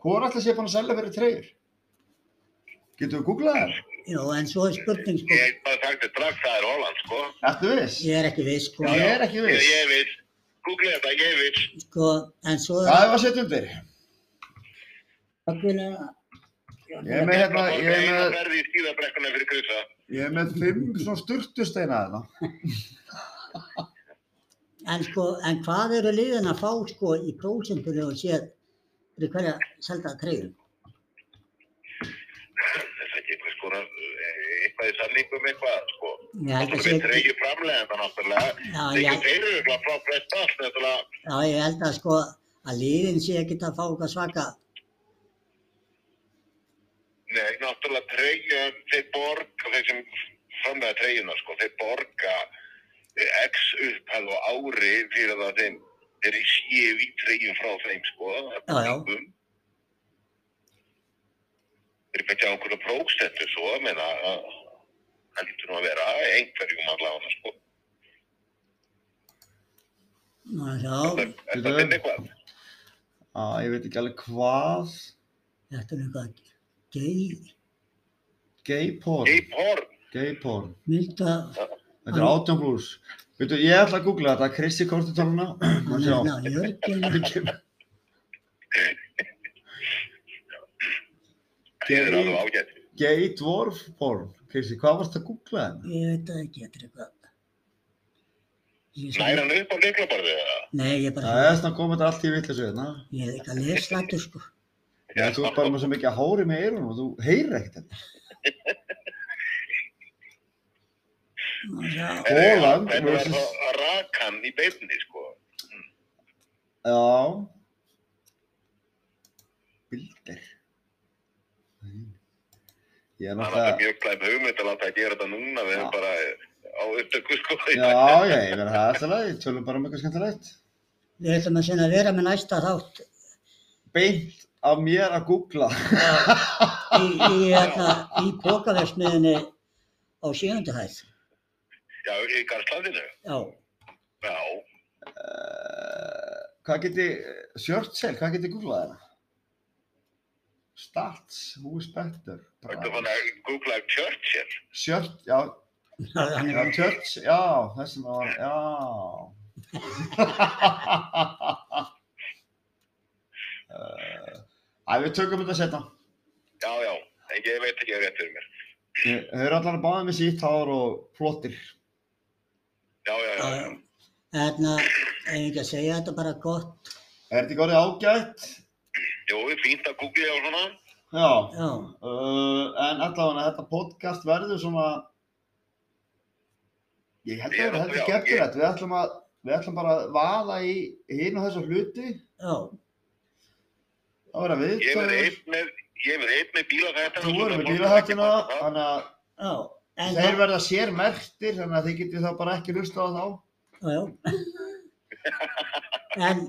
Speaker 1: Hvor ætla sé búin að selja fyrir treyjur? Getur við googlað það?
Speaker 2: já, en svo er spurning sko,
Speaker 3: Ég hef bara sagt þetta strax, það er Holland, sko.
Speaker 1: Ertu viss?
Speaker 2: ég er ekki viss sko.
Speaker 1: Ég er ekki
Speaker 3: Ég,
Speaker 1: viss.
Speaker 3: ég veit, Google þetta, ég veit.
Speaker 2: sko, en svo
Speaker 1: Það var sett undir.
Speaker 2: algjörlega-
Speaker 1: Ég er með hérna, ég er
Speaker 3: eina
Speaker 1: með,
Speaker 3: ferði í skíðabrekkuna fyrir Krissa.
Speaker 1: ég er með fimm svona sturtusteina þarna.
Speaker 2: en sko, en hvað eru liðin að fá sko í prósentunni og séð fyrir hverja selda treyjum?
Speaker 3: Það er ekki einhvers konar, eh, eitthvað í samningum eitthvað, sko.
Speaker 2: Ég held að
Speaker 3: Náttúrulega
Speaker 2: sé,
Speaker 3: við treyju framlegenda náttúrulega.
Speaker 2: já,
Speaker 3: Það er
Speaker 2: Ah, já,
Speaker 3: ekki fyrir frá flest allt, náttúrulega.
Speaker 2: já, ég held að sko að liðin sé ekkert að fá eitthvað svaka,
Speaker 3: Nei, náttúrulega treyja, þeir borga, þeir sem framlega treyjuna, sko, þeir borga eh, x upphæð og ári fyrir það að þeim þeir séu í treyjum frá þeim, sko.
Speaker 2: Já, já.
Speaker 3: Þeir betja einhverju prókstendu svo, ég meina, að- það lítur nú að vera einhverjum allavega, sko.
Speaker 2: Nú, já,
Speaker 3: Er er það minn eitthvað?
Speaker 1: Á, Ah, ég veit ekki alveg hvað.
Speaker 2: þetta er eitthvað gei,
Speaker 1: Gay porn.
Speaker 3: Geip horn,
Speaker 1: Gay porn.
Speaker 2: mynda,
Speaker 1: Þetta er 18 pluss. Veitu, ég ætla að googla þetta. Krissi Korti töluna. Má sjá.
Speaker 2: ná, jörgjum,
Speaker 3: þeir eru alveg
Speaker 1: Gay,
Speaker 3: ágætt.
Speaker 1: gay dwarf porn. Krissi, hvað varst að googla hérna? þetta?
Speaker 2: ég veit það ekki, þetta er eitthvað. Ég sé-
Speaker 3: Næra hann upp á leiklaborðið eða?
Speaker 2: Nei, ég bara,
Speaker 1: Það er svona komið þetta allt í vittlis við hérna.
Speaker 2: ég er eitthvað leslættur sko.
Speaker 1: Já, þú ert bara með svo mikið hári með eyrunum og þú heyrir ekkert hérna. þetta.
Speaker 2: Nú, já,
Speaker 1: Holland
Speaker 3: Hvernig var
Speaker 1: versus-
Speaker 3: það að raka hann í beinni, sko?
Speaker 1: Já. Bilder. Nei. Ég er
Speaker 3: Það er
Speaker 1: náttúrulega...
Speaker 3: mjög glæm hugmynd að láta að gera þetta núna, við erum
Speaker 1: Já.
Speaker 3: bara á upptöku sko.
Speaker 1: Já, já, ég verði það alltaf leið. Tölum bara um eitthvað skemmtilegt.
Speaker 2: við ætlum að sinna að vera með næsta þátt
Speaker 1: Beint af mér að googla.
Speaker 2: í, í, hérna, í pókaversmiðinni á sjöundu hæð.
Speaker 3: Já, í Garðslandinu.
Speaker 2: Já,
Speaker 3: Já,
Speaker 1: Uh, hvað geti... Sjörtsel, hvað geti googlað þetta? Stats, who is better?
Speaker 3: þetta fann að googla Churchill.
Speaker 1: Sjört, já,
Speaker 2: hann
Speaker 1: já,
Speaker 2: er
Speaker 1: Church, já, þessum var, já. uh, Æ, við tökum þetta setna.
Speaker 3: Já, já, en ég veit ekki að rétt fyrir mér.
Speaker 1: Þau eru allar að báða með sítt hár og plottir.
Speaker 3: Já, já, já, já.
Speaker 2: hérna, ef ég ekki að segja þetta bara gott.
Speaker 1: Er þetta ekki orðið ágætt?
Speaker 3: Jó, fínt að googla og svona.
Speaker 1: Já.
Speaker 2: Já,
Speaker 1: Uh, en allavega þetta podcast verður svona, ég held að
Speaker 3: Ég er
Speaker 1: þetta
Speaker 3: að- já,
Speaker 1: heldur skemmtilegt. Við ætlum að, við ætlum bara að vaða í hinn og þessa hluti.
Speaker 2: já,
Speaker 1: Það verður að
Speaker 3: Ég verði
Speaker 1: viðtöður.
Speaker 3: einn með, ég verði einn með bílahættina.
Speaker 1: Þú
Speaker 3: og svona,
Speaker 1: verður með
Speaker 3: fólk
Speaker 1: bílahættina,
Speaker 3: er ekki bara það.
Speaker 1: þannig að
Speaker 2: já. En
Speaker 1: Þeir
Speaker 2: það,
Speaker 1: verða sér mertir, þannig að þið getið þá bara ekki hlusta á þá.
Speaker 2: já, já. En,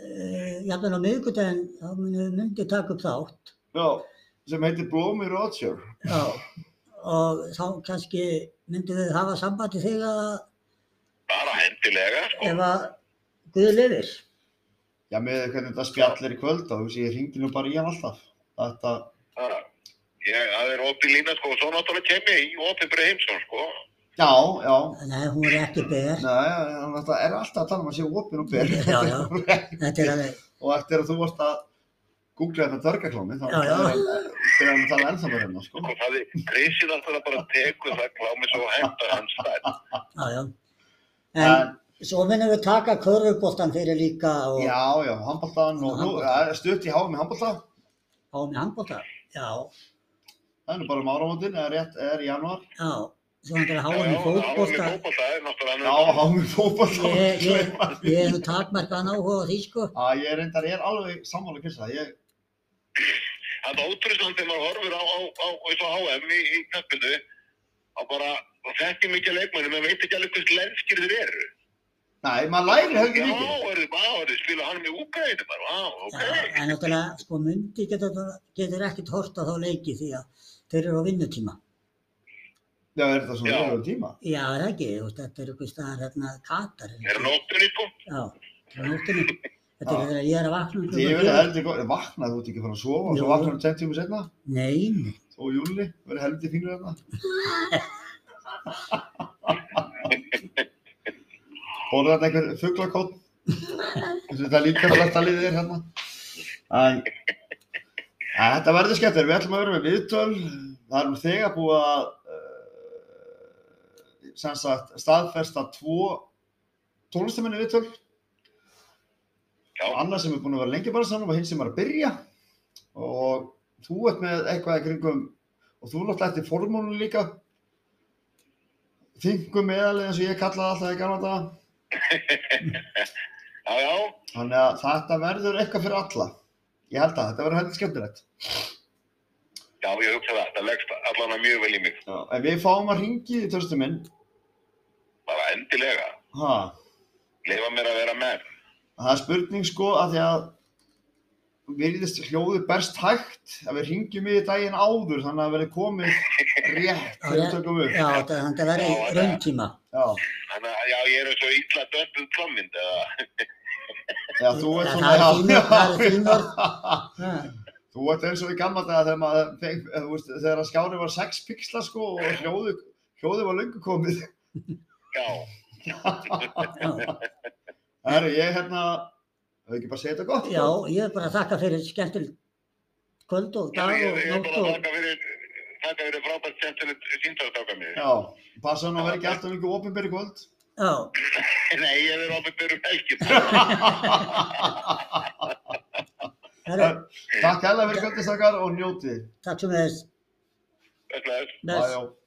Speaker 2: uh, jafnvel á miðgudaginn, þá munum við myndið taka upp þátt.
Speaker 1: Já. Sem heitir Blómi Roger.
Speaker 2: Já, og þá kannski myndum við hafa sambandi þegar að
Speaker 3: Bara hendilega, sko.
Speaker 2: ef að Guð lifir.
Speaker 1: Já, með hvernig þetta spjallir í kvöld þá, þú veist, ég ringi nú bara í hann alltaf. Þetta,
Speaker 3: Já. Ah, Ég, það er opið lína, sko, og svo náttúrulega kem ég í opið breið heimsson, sko.
Speaker 1: já, já.
Speaker 2: Nei, hún er ekki ber.
Speaker 1: Nei, hann þetta er alltaf að tala um að sé opinn og ber.
Speaker 2: Já, já. Þetta er alveg,
Speaker 1: og eftir að þú varst að googla þetta dörgaklámi, þá
Speaker 2: Já, já.
Speaker 1: fyrir hann að tala ennþá með hennar, sko.
Speaker 3: Sko, það er, Krissi náttúrulega bara tekur það klámi svo hendar hans stærn.
Speaker 2: já, já.
Speaker 1: En,
Speaker 2: En svo minnum við taka körfuboltan fyrir líka og
Speaker 1: já, já, handbóltan og nú,
Speaker 2: Handbolta.
Speaker 1: ja, stutt í hámi handbólta.
Speaker 2: á með handbolta. Já,
Speaker 1: Það er nú bara um áramótin, eða rétt, er í janúar.
Speaker 2: já. Svo hann er að
Speaker 3: Já,
Speaker 2: háa með
Speaker 3: Háum í
Speaker 2: fótbolta.
Speaker 3: fótbolta, það er náttúrulega
Speaker 1: Já,
Speaker 3: hann-
Speaker 1: hámi fótbólta.
Speaker 2: Ég, ég, ég er nú takmarkaðan áhuga á því sko.
Speaker 1: Að ég reyndar, ég er alveg sammála kyrsa. Ég,
Speaker 3: Það er ótrúlega samt þegar maður horfir á, á, á, eins og HM í, í knappinu, að bara og þekkir mikið leikmenni, menn veit ekki alveg hvers lenskir þeir eru.
Speaker 1: nei, maður læri heldur
Speaker 3: Já,
Speaker 1: mikið.
Speaker 3: er þið bara, er þið spila hann með Úkraínu bara, á, ok.
Speaker 2: Já, en náttúrulega, sko, myndi getur, getur ekkert hort á þá leiki því að þeir eru á vinnutíma.
Speaker 1: Já, er þetta svona
Speaker 3: Já.
Speaker 1: verður tíma?
Speaker 2: Já, er það ekki, þú veist, þetta er eitthvað staðar hérna Katar.
Speaker 3: Er það nóttunni, sko?
Speaker 2: Já, það er nóttinni. Þetta er þegar ég er að vakna.
Speaker 1: Ég
Speaker 2: klukkan
Speaker 1: verði
Speaker 2: fjögur.
Speaker 1: heldur góð, vaknaði þú ert ekki fann að sofa og
Speaker 2: Jú.
Speaker 1: svo um vaknaði þú 10 tíma setna
Speaker 2: Nei, nei.
Speaker 1: og júli, verði heldur fínur þarna. Borðið þarna einhver fuglakótt Þetta er líka flesta liðið er hérna. En, en þetta verður skemmtir, við ætlum að vera með viðtöl. Það erum þegar búið að uh, sem sagt, staðfersta tvo tónlistaminni viðtöl.
Speaker 3: Já.
Speaker 1: Anna sem er búin að vera lengi bara saman og hinn sem er að byrja. Og þú ert með eitthvað í kringum og þú náttúrulega eftir formónu líka. Þingum meðalið eins og ég kallaði alltaf í gamla daga.
Speaker 3: Já, já,
Speaker 1: Þannig að þetta verður eitthvað fyrir alla. Ég held að þetta verður heldur skemmtilegt.
Speaker 3: já, ég hugsa það, það leggst allan að mjög vel í mig.
Speaker 1: Já. En við fáum að ringi í törstum minn.
Speaker 3: Bara endilega,
Speaker 1: Ha,
Speaker 3: leifa mér að vera með.
Speaker 1: það er spurning sko að því að virðist hljóðu berst hægt að við ringjum í daginn áður þannig að verði komið rétt þegar við tökum upp.
Speaker 2: Já, þetta þetta verður rauntíma.
Speaker 1: Já,
Speaker 3: Þannig að, já, ég er svo illa dömpuð klammind, eða,
Speaker 1: já þú ert
Speaker 2: Það-
Speaker 1: svona,
Speaker 2: það eru þín orð, það eru þín orð.
Speaker 1: já.
Speaker 2: Ha,
Speaker 1: Þú ert eins og í gamla daga þegar maður, feng- eða þú veist, þegar að skárið var 6 pixla sko og hljóðu, hljóðu var löngu komið.
Speaker 3: já,
Speaker 2: já.
Speaker 1: Herru, ég hérna, hefur ekki bara segið þetta gott? sko?
Speaker 2: já, ég er bara að þakka fyrir skemmtilegt kvöld og
Speaker 3: já,
Speaker 2: dag
Speaker 3: ég,
Speaker 2: og
Speaker 3: ég er
Speaker 2: nótt
Speaker 3: bara að
Speaker 2: og...
Speaker 3: taka fyrir, taka fyrir frábært skemmtilegt síntartáka mér.
Speaker 1: Já, passa nú að vera ekki alltaf mikið opinber í kvöld.
Speaker 2: Já,
Speaker 3: Nei, ég er um ofið byrjum helgin.
Speaker 2: herru,
Speaker 1: Takk hella fyrir kvöldistakar og njótið.
Speaker 2: takk sem þess.
Speaker 3: Bless, bless.
Speaker 1: Bæjó.